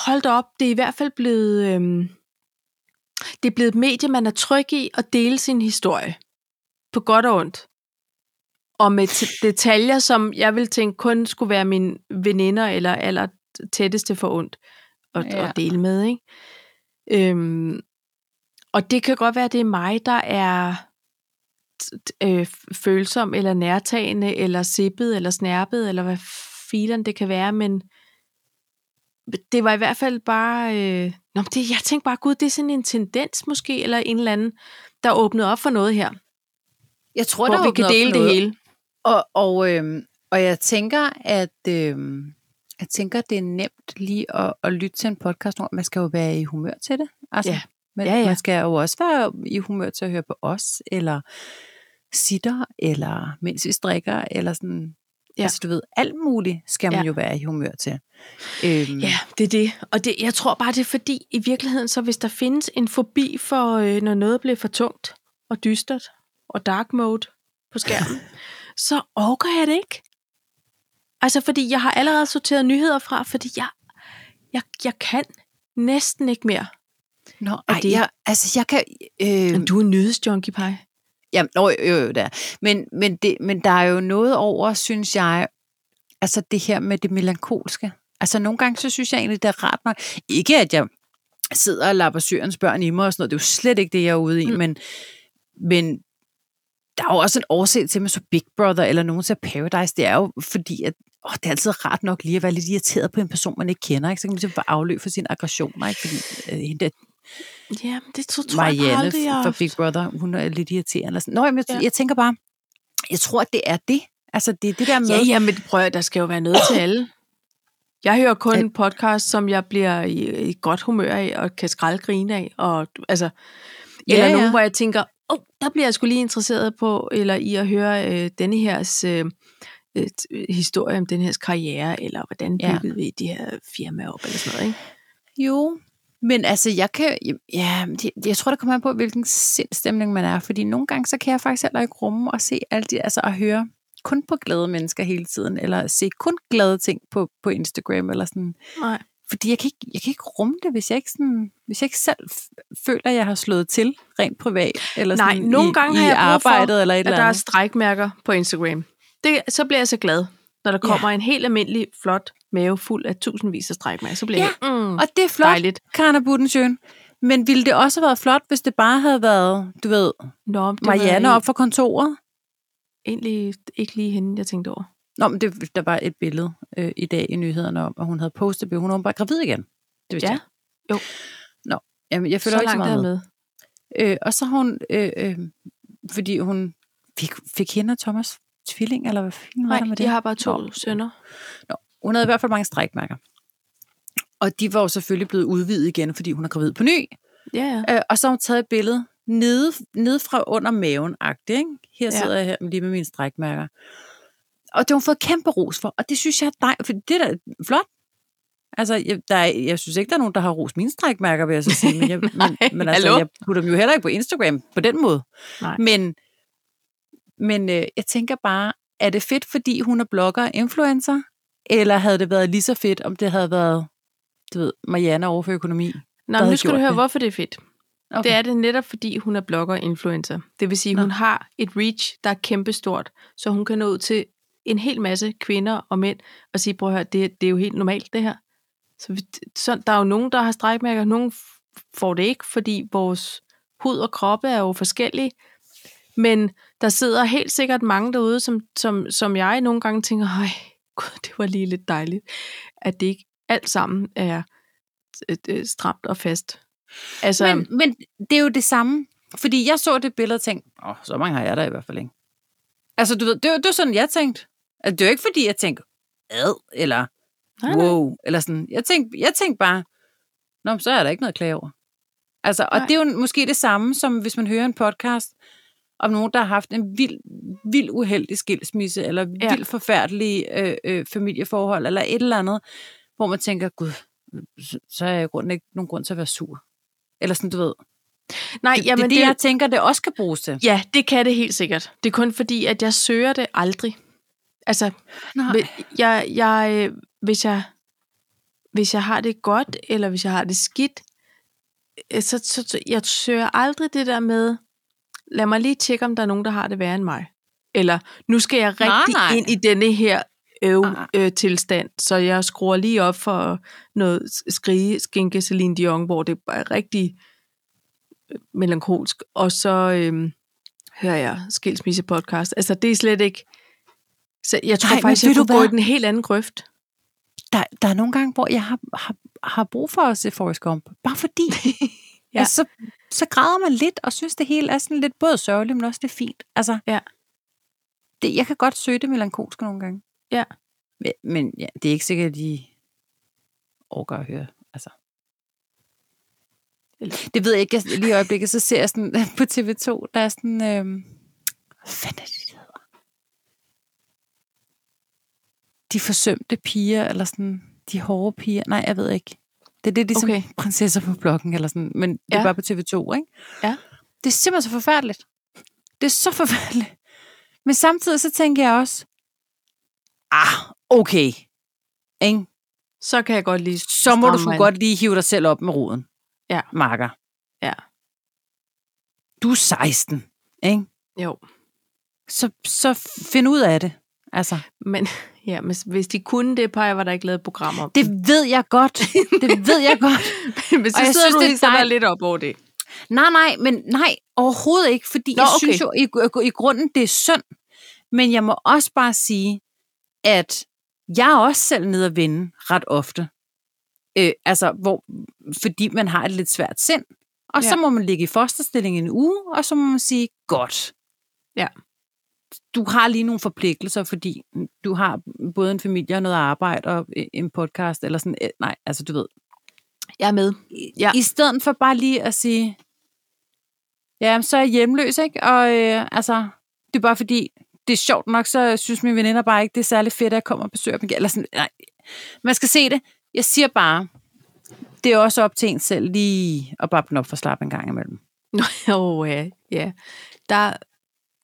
[SPEAKER 2] hold da op, det er i hvert fald blevet, øhm, det er blevet et medie, man er tryg i at dele sin historie. På godt og ondt. Og med t- detaljer, som jeg ville tænke kun skulle være mine veninder eller aller tætteste for ondt at, ja.
[SPEAKER 1] Ja.
[SPEAKER 2] at dele med. Ikke? Øhm, og det kan godt være, at det er mig, der er t- t- øh, f- følsom, eller nærtagende, eller sippet, eller snærpet, eller hvad fileren det kan være, men det var i hvert fald bare... Øh, nå, men det, jeg tænkte bare, gud, det er sådan en tendens måske, eller en eller anden, der åbnede op for noget her,
[SPEAKER 1] jeg tror,
[SPEAKER 2] hvor
[SPEAKER 1] der
[SPEAKER 2] vi kan dele det hele.
[SPEAKER 1] Og, og, øhm, og jeg tænker, at øhm, jeg tænker, det er nemt lige at, at lytte til en podcast. nu. Man skal jo være i humør til det. Altså,
[SPEAKER 2] Ja.
[SPEAKER 1] Men
[SPEAKER 2] Ja, ja.
[SPEAKER 1] man skal jo også være i humør til at høre på os, eller sitter, eller mens vi strikker, eller sådan.
[SPEAKER 2] Ja.
[SPEAKER 1] Ja. Altså, du ved, alt muligt skal man
[SPEAKER 2] Ja.
[SPEAKER 1] jo være i humør til. Øhm,
[SPEAKER 2] Ja, det er det. Og det, jeg tror bare, det er fordi, i virkeligheden, så hvis der findes en fobi for, øh, når noget bliver for tungt og dystert og dark mode på skærmen, så orker jeg det ikke. Altså, fordi jeg har allerede sorteret nyheder fra, fordi jeg, jeg, jeg kan næsten ikke mere.
[SPEAKER 1] Nå, ej,
[SPEAKER 2] det-
[SPEAKER 1] det... jeg, altså, jeg kan... Øh,
[SPEAKER 2] Men du er en nyhedsjunkie, Paj.
[SPEAKER 1] Jamen, jo, jo, jo, der. Men, men, det, men der er jo noget over, synes jeg, altså det her med det melankolske. Altså nogle gange, så synes jeg egentlig, det er rart nok. Ikke at jeg sidder og lapper syrens børn i mig og sådan noget. Det er jo slet ikke det, jeg er ude i.
[SPEAKER 2] Mm.
[SPEAKER 1] Mm. Men, men der er jo også en årsag til, at man så Big Brother eller nogen ser Paradise. Det er jo fordi, at åh, det er altid rart nok lige at være lidt irriteret på en person, man ikke kender. Ikke? Så kan man ligesom få afløb for sine aggressioner. Ikke? Fordi øh, hende der
[SPEAKER 2] Ja, men det tror, tror jeg bare
[SPEAKER 1] Marianne
[SPEAKER 2] aldrig, jeg
[SPEAKER 1] fra
[SPEAKER 2] har
[SPEAKER 1] fra
[SPEAKER 2] haft.
[SPEAKER 1] Big Brother, hun er lidt irriterende. Eller sådan. Nå, jamen, jeg,
[SPEAKER 2] Ja.
[SPEAKER 1] ja. jeg tænker bare, jeg tror, at det er det. Altså, det er det der med...
[SPEAKER 2] Ja, ja, men prøv at- der skal jo være noget til alle. Jeg hører kun en podcast, som jeg bliver i, i godt humør af, og kan skraldgrine af. Og, altså,
[SPEAKER 1] Ja,
[SPEAKER 2] eller ja. nogen,
[SPEAKER 1] ja.
[SPEAKER 2] hvor jeg tænker, oh, der bliver jeg skulle lige interesseret på, eller i at høre øh, denne hers øh, øh, t- historie om den hers karriere, eller hvordan
[SPEAKER 1] Ja.
[SPEAKER 2] byggede vi de her firmaer op, eller sådan noget. Ikke?
[SPEAKER 1] Jo, men altså, jeg kan... Ja, det, jeg tror, det kommer an på, hvilken sindstemning man er. Fordi nogle gange, så kan jeg faktisk heller ikke rumme og se alle de... Altså, at høre kun på glade mennesker hele tiden, eller se kun glade ting på, på Instagram, eller sådan.
[SPEAKER 2] Nej.
[SPEAKER 1] Fordi jeg kan, ikke, jeg kan ikke rumme det, hvis jeg ikke, sådan, hvis jeg ikke selv f- føler, at jeg har slået til rent privat, eller
[SPEAKER 2] Nej,
[SPEAKER 1] sådan
[SPEAKER 2] nogle
[SPEAKER 1] i,
[SPEAKER 2] gange
[SPEAKER 1] i
[SPEAKER 2] har jeg brug for,
[SPEAKER 1] arbejdet, eller et
[SPEAKER 2] at
[SPEAKER 1] eller
[SPEAKER 2] der er
[SPEAKER 1] andet.
[SPEAKER 2] strækmærker på Instagram. Det, så bliver jeg så glad, når der
[SPEAKER 1] Ja.
[SPEAKER 2] kommer en helt almindelig, flot mave fuld af tusindvis af strækmærker. Så bliver
[SPEAKER 1] Ja,
[SPEAKER 2] jeg, mm,
[SPEAKER 1] Og det er flot,
[SPEAKER 2] Dejligt.
[SPEAKER 1] Karna Buttensjøen. Men ville det også have været flot, hvis det bare havde været, du ved,
[SPEAKER 2] Nå, men det var
[SPEAKER 1] Marianne
[SPEAKER 2] jeg
[SPEAKER 1] op for kontoret?
[SPEAKER 2] egentlig ikke lige hende, jeg tænkte over.
[SPEAKER 1] Nå, men det, der var et billede øh, i dag i nyhederne om, at hun havde postet, at hun var bare gravid igen. Det vidste
[SPEAKER 2] Ja.
[SPEAKER 1] jeg.
[SPEAKER 2] Jo.
[SPEAKER 1] Nå, jamen, jeg føler
[SPEAKER 2] så
[SPEAKER 1] ikke så
[SPEAKER 2] langt er
[SPEAKER 1] meget
[SPEAKER 2] jeg
[SPEAKER 1] med.
[SPEAKER 2] med.
[SPEAKER 1] Øh, og så har hun, øh, øh, fordi hun fik, fik hende og Thomas tvilling, eller hvad fanden var
[SPEAKER 2] Nej,
[SPEAKER 1] der med
[SPEAKER 2] de
[SPEAKER 1] det?
[SPEAKER 2] har bare to
[SPEAKER 1] Nå.
[SPEAKER 2] sønner.
[SPEAKER 1] Nå, hun havde i hvert fald mange strækmærker. Og de var jo selvfølgelig blevet udvidet igen, fordi hun er gravid på ny.
[SPEAKER 2] Ja, ja.
[SPEAKER 1] Øh, og så har hun taget et billede nede, nede fra under maven agtigt, ikke? Her
[SPEAKER 2] Ja.
[SPEAKER 1] ja. sidder jeg her lige med mine strækmærker. Og det har hun fået kæmpe ros for, og det synes jeg er dejligt, for det er da flot. Altså, jeg, der er, jeg synes ikke, der er nogen, der har ros mine strækmærker, vil jeg så sige. Men, jeg, men,
[SPEAKER 2] Nej,
[SPEAKER 1] men altså,
[SPEAKER 2] hallo?
[SPEAKER 1] jeg putter dem jo heller ikke på Instagram på den måde.
[SPEAKER 2] Nej.
[SPEAKER 1] Men, men øh, jeg tænker bare, er det fedt, fordi hun er blogger og influencer? Eller havde det været lige så fedt, om det havde været, du ved, Marianne over for økonomi?
[SPEAKER 2] Nå, men
[SPEAKER 1] havde
[SPEAKER 2] nu skal du
[SPEAKER 1] gjort
[SPEAKER 2] høre,
[SPEAKER 1] det.
[SPEAKER 2] hvorfor det er fedt.
[SPEAKER 1] Okay.
[SPEAKER 2] Det er det netop, fordi hun er blogger og influencer. Det vil sige,
[SPEAKER 1] Nå.
[SPEAKER 2] hun har et reach, der er kæmpestort, så hun kan nå ud til en hel masse kvinder og mænd og sige, prøv at høre, det, det er jo helt normalt det her. Så, vi, så der er jo nogen, der har strækmærker, nogen f- får det ikke, fordi vores hud og kroppe er jo forskellige. Men der sidder helt sikkert mange derude, som, som, som jeg nogle gange tænker, hej, gud, det var lige lidt dejligt, at det ikke alt sammen er øh, øh, stramt og fast. Altså,
[SPEAKER 1] Men, men det er jo det samme. Fordi jeg så det billede og tænkte, åh, så mange har jeg der i hvert fald ikke. Altså, du ved, det var, det var sådan, jeg tænkte. Altså, det er jo ikke, fordi jeg tænkte, ad, eller
[SPEAKER 2] nej, nej.
[SPEAKER 1] wow, eller sådan. Jeg tænkte, jeg tænkte bare, Nå, men så er der ikke noget at klage over. Altså, og
[SPEAKER 2] Nej.
[SPEAKER 1] Nej. det er jo måske det samme, som hvis man hører en podcast om nogen, der har haft en vild, vild uheldig skilsmisse, eller
[SPEAKER 2] Ja.
[SPEAKER 1] ja. vild forfærdelig øh, øh, familieforhold, eller et eller andet, hvor man tænker, gud, så- så er jeg i grunden ikke nogen grund til at være sur. Eller sådan, du ved.
[SPEAKER 2] nej
[SPEAKER 1] Det,
[SPEAKER 2] jamen,
[SPEAKER 1] det er det, jeg tænker, det også kan bruges til.
[SPEAKER 2] Ja, det kan det helt sikkert. Det er kun fordi, at jeg søger det aldrig. Altså,
[SPEAKER 1] Nej.
[SPEAKER 2] hvi- jeg, jeg, øh, hvis, jeg, hvis jeg har det godt, eller hvis jeg har det skidt, øh, så, så, så jeg søger aldrig det der med, lad mig lige tjekke, om der er nogen, der har det værre end mig. Eller, nu skal jeg rigtig nej,
[SPEAKER 1] nej.
[SPEAKER 2] nej. ind i denne her øv,
[SPEAKER 1] Nej.
[SPEAKER 2] øh, tilstand, så jeg skruer lige op for noget s- skrige, skinke Celine Dion, hvor det er rigtig øh, melankolsk, og så øhm, hører jeg skilsmisse podcast. Altså, det er slet ikke... Så jeg tror
[SPEAKER 1] Nej,
[SPEAKER 2] Nej,
[SPEAKER 1] men
[SPEAKER 2] faktisk,
[SPEAKER 1] ved
[SPEAKER 2] jeg
[SPEAKER 1] du
[SPEAKER 2] kunne gå i
[SPEAKER 1] hvad?
[SPEAKER 2] den helt anden grøft.
[SPEAKER 1] der, der er nogle gange, hvor jeg har, har, har brug for at se Forrest Gump. Bare fordi.
[SPEAKER 2] Ja.
[SPEAKER 1] ja. altså, så, så græder man lidt, og synes, det hele er sådan lidt både sørgeligt, men også lidt fint. Altså,
[SPEAKER 2] Ja.
[SPEAKER 1] det, jeg kan godt søge det melankolske nogle gange.
[SPEAKER 2] Ja.
[SPEAKER 1] Men, men ja, det er ikke sikkert, at de overgår at høre. Altså.
[SPEAKER 2] Eller-
[SPEAKER 1] Det ved jeg ikke. Jeg, lige i øjeblikket, så ser jeg sådan på TV2, der er sådan... Øhm, hvad fanden er det, de hedder? De forsømte piger, eller sådan... De hårde piger. Nej, jeg ved ikke. Det er det, ligesom
[SPEAKER 2] Okay.
[SPEAKER 1] okay. prinsesser på blokken, eller sådan. Men det ja.
[SPEAKER 2] Ja.
[SPEAKER 1] er bare på TV2, ikke?
[SPEAKER 2] Ja.
[SPEAKER 1] Det er simpelthen så forfærdeligt. Det er så forfærdeligt. Men samtidig så tænker jeg også, ah, okay. Ikke?
[SPEAKER 2] Så kan jeg godt lige...
[SPEAKER 1] Så må du
[SPEAKER 2] stramme mig
[SPEAKER 1] sgu
[SPEAKER 2] ind.
[SPEAKER 1] godt lige hive dig selv op med roden.
[SPEAKER 2] Ja.
[SPEAKER 1] Marker.
[SPEAKER 2] Ja.
[SPEAKER 1] Du er 16, ikke?
[SPEAKER 2] Jo,
[SPEAKER 1] Så, så find ud af det. Altså,
[SPEAKER 2] men, ja, men hvis de kunne det, peger var der ikke lavet et program om.
[SPEAKER 1] det ved jeg godt. Det ved jeg godt.
[SPEAKER 2] men så
[SPEAKER 1] og jeg
[SPEAKER 2] sidder
[SPEAKER 1] synes,
[SPEAKER 2] du
[SPEAKER 1] det er
[SPEAKER 2] helt sådan
[SPEAKER 1] dejligt.
[SPEAKER 2] og lidt op over det.
[SPEAKER 1] Nej, nej, men nej, overhovedet ikke, fordi Nå,
[SPEAKER 2] Nå,
[SPEAKER 1] jeg okay.
[SPEAKER 2] okay.
[SPEAKER 1] synes jo i, i grunden, det er synd. Men jeg må også bare sige, at jeg er også selv nede at vinde ret ofte. Øh, altså, hvor, fordi man har et lidt svært sind. Og ja.
[SPEAKER 2] Ja.
[SPEAKER 1] så må man ligge i fosterstilling en uge, og så må man sige, godt.
[SPEAKER 2] Ja.
[SPEAKER 1] Du har lige nogle forpligtelser, fordi du har både en familie og noget arbejde og øh, en podcast, eller sådan, øh, nej, altså du ved,
[SPEAKER 2] Jeg er med. Ja.
[SPEAKER 1] ja. i stedet for bare lige at sige, ja, men så er jeg hjemløs, ikke? Og øh, altså, det er bare fordi, det er sjovt nok, så synes mine veninder bare ikke, det er særlig fedt, at jeg kommer og besøger dem igen. Eller sådan, nej. Man skal se det. Jeg siger bare, det er også op til en selv lige at bare den op for slap en gang imellem.
[SPEAKER 2] Nå, jo, ja, ja. Der,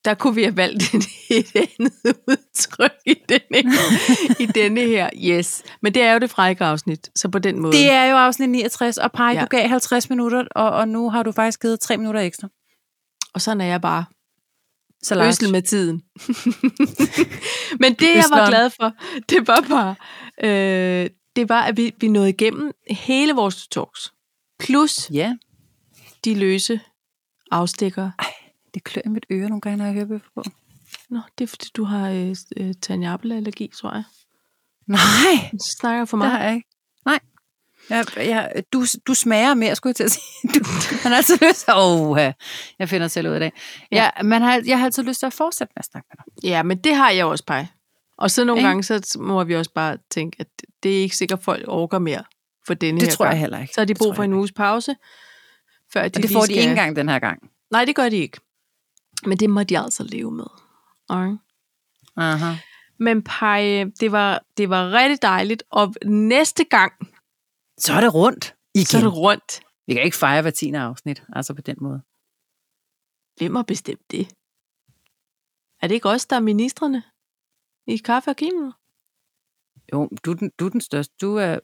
[SPEAKER 2] der kunne vi have valgt et, et andet udtryk i denne, i denne her. Yes. Men det er jo det frække afsnit, så på den måde.
[SPEAKER 1] Det er jo afsnit 69, og par,
[SPEAKER 2] Ja.
[SPEAKER 1] ja. du gav 50 minutter, og, og nu har du faktisk givet 3 minutter ekstra.
[SPEAKER 2] Og sådan er jeg bare.
[SPEAKER 1] Så Lars,
[SPEAKER 2] Øsel med tiden. Men det, jeg var
[SPEAKER 1] Øsleren.
[SPEAKER 2] glad for, det var bare, øh, det var, at vi, vi nåede igennem hele vores talks. Plus
[SPEAKER 1] ja,
[SPEAKER 2] de løse afstikker.
[SPEAKER 1] det klør i mit øre nogle gange, når jeg hører bøffer på.
[SPEAKER 2] Nå, det er fordi, du har øh, øh, tanjabelallergi, tror jeg.
[SPEAKER 1] Nej,
[SPEAKER 2] Så snakker jeg for
[SPEAKER 1] Det
[SPEAKER 2] meget.
[SPEAKER 1] har jeg ikke. Nej. Jeg, jeg, du, du smager mere, skulle jeg til at sige. Du, man har altid lyst til... Åh, jeg finder selv ud af det. Jeg, man har, jeg har altid lyst til at fortsætte med at snakke med dig.
[SPEAKER 2] Ja, men det har jeg også, Paj. Og så nogle
[SPEAKER 1] Ikke?
[SPEAKER 2] gange, så må vi også bare tænke, at det er ikke sikkert, at folk orker mere for denne
[SPEAKER 1] Det
[SPEAKER 2] her
[SPEAKER 1] tror jeg
[SPEAKER 2] gang.
[SPEAKER 1] heller ikke.
[SPEAKER 2] Så har de
[SPEAKER 1] Det
[SPEAKER 2] brug
[SPEAKER 1] tror
[SPEAKER 2] for
[SPEAKER 1] jeg
[SPEAKER 2] en
[SPEAKER 1] ikke.
[SPEAKER 2] uges pause, før de
[SPEAKER 1] Og det
[SPEAKER 2] lige
[SPEAKER 1] får de
[SPEAKER 2] skal...
[SPEAKER 1] ikke engang den her gang.
[SPEAKER 2] Nej, det gør de ikke. Men det må de altså leve med. Alright.
[SPEAKER 1] Aha.
[SPEAKER 2] Men Paj, det var, det var rigtig dejligt. Og næste gang,
[SPEAKER 1] Så er det rundt. Igen.
[SPEAKER 2] så er det rundt.
[SPEAKER 1] Vi kan ikke fejre hver tiende afsnit, altså på den måde.
[SPEAKER 2] Hvem har bestemt det? Er det ikke os, der er ministerne? I kaffe og kimono?
[SPEAKER 1] Jo, du, er den- du er den største. Du er,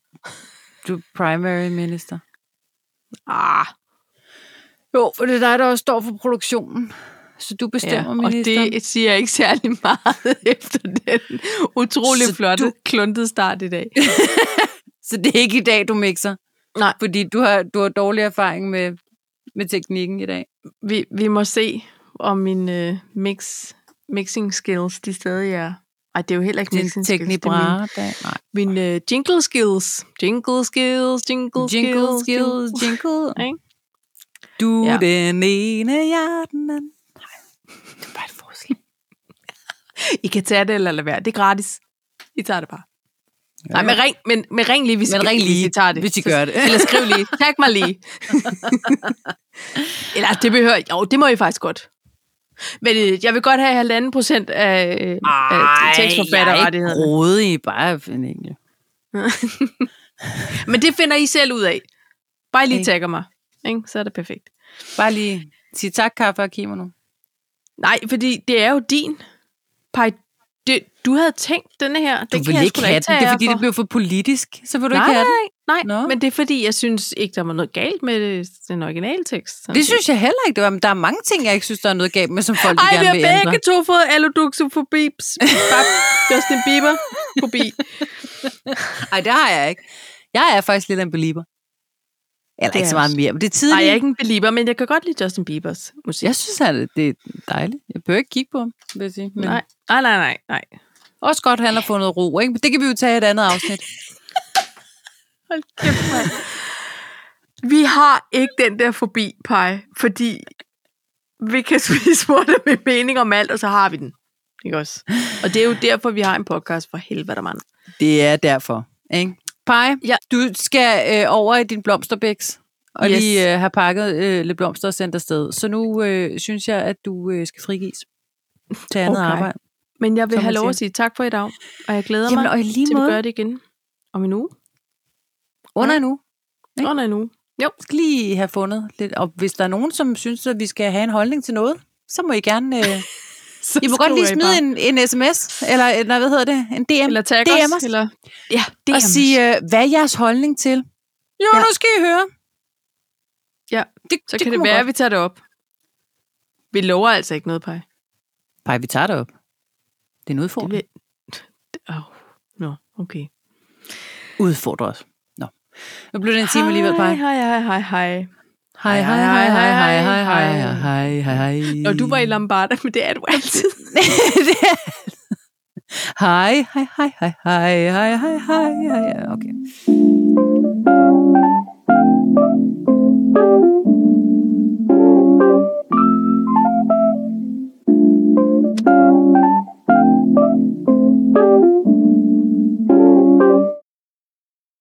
[SPEAKER 1] du er primary minister.
[SPEAKER 2] Ah,
[SPEAKER 1] Jo, for det er dig, der også står for produktionen. Så du
[SPEAKER 2] ja,
[SPEAKER 1] bestemmer
[SPEAKER 2] og
[SPEAKER 1] ministeren.
[SPEAKER 2] det siger ikke særlig meget efter den utrolig
[SPEAKER 1] Så
[SPEAKER 2] flotte, du...
[SPEAKER 1] du-
[SPEAKER 2] kluntede start i dag.
[SPEAKER 1] Så det er ikke i dag, du mixer?
[SPEAKER 2] Nej.
[SPEAKER 1] Fordi du har, du har dårlig erfaring med, med teknikken i dag.
[SPEAKER 2] Vi, vi må se, om mine øh, mix, mixing skills, de stadig er Ej, det er jo heller ikke
[SPEAKER 1] Din
[SPEAKER 2] Nixons skills, det er min-
[SPEAKER 1] teknibra. der- Nej.
[SPEAKER 2] Min uh, jingle skills. Jingle skills, jingle,
[SPEAKER 1] Jingle,
[SPEAKER 2] skills.
[SPEAKER 1] skills, jingle.
[SPEAKER 2] Ikke?
[SPEAKER 1] Du
[SPEAKER 2] Ja.
[SPEAKER 1] ja. den ene, jeg den anden. Nej, det er bare et forslag.
[SPEAKER 2] I kan tage det eller lade være. Det er gratis. I tager det bare. Ja. Nej, men ring, men, men ring lige, hvis,
[SPEAKER 1] Men
[SPEAKER 2] I-
[SPEAKER 1] ring
[SPEAKER 2] hvis
[SPEAKER 1] lige,
[SPEAKER 2] I tager det.
[SPEAKER 1] hvis I
[SPEAKER 2] Så-
[SPEAKER 1] gør det.
[SPEAKER 2] Eller skriv lige. Tag mig lige. eller det behøver... Jo, det må I faktisk godt. Men øh, jeg vil godt have halvanden procent af, øh, af tekstforfatterrettighederne.
[SPEAKER 1] rådig, bare en enkelt.
[SPEAKER 2] Men det finder I selv ud af. Bare I lige
[SPEAKER 1] Ikke?
[SPEAKER 2] tagger mig. Ikke? Så er det perfekt.
[SPEAKER 1] Bare lige sige tak, kaffe og kimono.
[SPEAKER 2] Nej, fordi det er jo din. Pej, det, du havde tænkt denne her.
[SPEAKER 1] Du
[SPEAKER 2] det
[SPEAKER 1] vil
[SPEAKER 2] kan jeg
[SPEAKER 1] ikke
[SPEAKER 2] sgu da
[SPEAKER 1] have den.
[SPEAKER 2] tage
[SPEAKER 1] Det er
[SPEAKER 2] ære
[SPEAKER 1] fordi,
[SPEAKER 2] for.
[SPEAKER 1] det blev for politisk. Så vil du
[SPEAKER 2] nej,
[SPEAKER 1] ikke have den.
[SPEAKER 2] nej, nej,
[SPEAKER 1] Nå.
[SPEAKER 2] men det er fordi, jeg synes ikke, der var noget galt med øh, den originale tekst. sådan
[SPEAKER 1] Det
[SPEAKER 2] set.
[SPEAKER 1] synes jeg heller ikke, det var. Men der er mange ting, jeg ikke synes, der er noget galt med, som folk de
[SPEAKER 2] Ej, vi
[SPEAKER 1] gerne
[SPEAKER 2] har
[SPEAKER 1] vil ændre.
[SPEAKER 2] begge to fået alloduxofobi. Justin Bieber. Fobi.
[SPEAKER 1] Nej, det har jeg ikke. Jeg er faktisk lidt af en belieber. Eller
[SPEAKER 2] Det
[SPEAKER 1] ikke så
[SPEAKER 2] er jeg
[SPEAKER 1] meget mere, men det er
[SPEAKER 2] Nej,
[SPEAKER 1] tidligt.
[SPEAKER 2] jeg er ikke en belieber, men jeg kan godt lide Justin Biebers musik.
[SPEAKER 1] Jeg synes, at det er dejligt. Jeg behøver ikke kigge på ham, vil jeg sige. Men
[SPEAKER 2] Nej, nej, nej, nej. nej.
[SPEAKER 1] Også godt, han har fået noget ro, ikke? Men det kan vi jo tage i et andet afsnit.
[SPEAKER 2] Hold kæft, mand. Vi har ikke den der fobi, Pej, fordi vi kan spise smurter med mening om alt, og så har vi den. Ikke også? Og det er jo derfor, vi har en podcast for helvede, mand.
[SPEAKER 1] det er derfor, ikke? Pej,
[SPEAKER 2] Ja.
[SPEAKER 1] ja. du skal øh, over i din blomsterbæks og
[SPEAKER 2] Yes.
[SPEAKER 1] yes. lige øh, have pakket øh, lidt blomster og sendt afsted. Så nu øh, synes jeg, at du øh, skal frigives til andet
[SPEAKER 2] Okay.
[SPEAKER 1] okay. arbejde.
[SPEAKER 2] Men jeg vil
[SPEAKER 1] Som man
[SPEAKER 2] have lov at
[SPEAKER 1] siger.
[SPEAKER 2] sige tak for i dag, og jeg glæder
[SPEAKER 1] Jamen,
[SPEAKER 2] mig
[SPEAKER 1] og i lige
[SPEAKER 2] til, at vi
[SPEAKER 1] måde.
[SPEAKER 2] gør det igen om en uge.
[SPEAKER 1] Under nu. Ikke?
[SPEAKER 2] Under en uge.
[SPEAKER 1] skal lige have fundet lidt. Og hvis der er nogen, som synes, at vi skal have en holdning til noget, så må I gerne... Øh,
[SPEAKER 2] Så
[SPEAKER 1] I må godt lige smide en, en sms, eller en- nej, hvad hedder det? En DM.
[SPEAKER 2] Eller tag
[SPEAKER 1] DM
[SPEAKER 2] os.
[SPEAKER 1] os.
[SPEAKER 2] Eller, ja, DM
[SPEAKER 1] og sige, øh, hvad er jeres holdning til? Jo,
[SPEAKER 2] Ja.
[SPEAKER 1] ja. nu skal I høre.
[SPEAKER 2] Ja,
[SPEAKER 1] det,
[SPEAKER 2] Så kan det være, at vi tager det op. Vi lover altså ikke noget, Pej.
[SPEAKER 1] Nej, vi tager det op. Det er en
[SPEAKER 2] Det
[SPEAKER 1] udfordring.
[SPEAKER 2] vil... Oh. Nå, okay.
[SPEAKER 1] Udfordrer os. Nå. Nu blev det en time alligevel, Paj.
[SPEAKER 2] Hej, hej, hej, hej.
[SPEAKER 1] Hej, hej, hej, hej, hej, hej, hej, hej, hej, hej.
[SPEAKER 2] Når du var i Lombarda, men det er du altid.
[SPEAKER 1] Hej, hej, hej, hej, hej, hej, hej, hej, hej. Okay.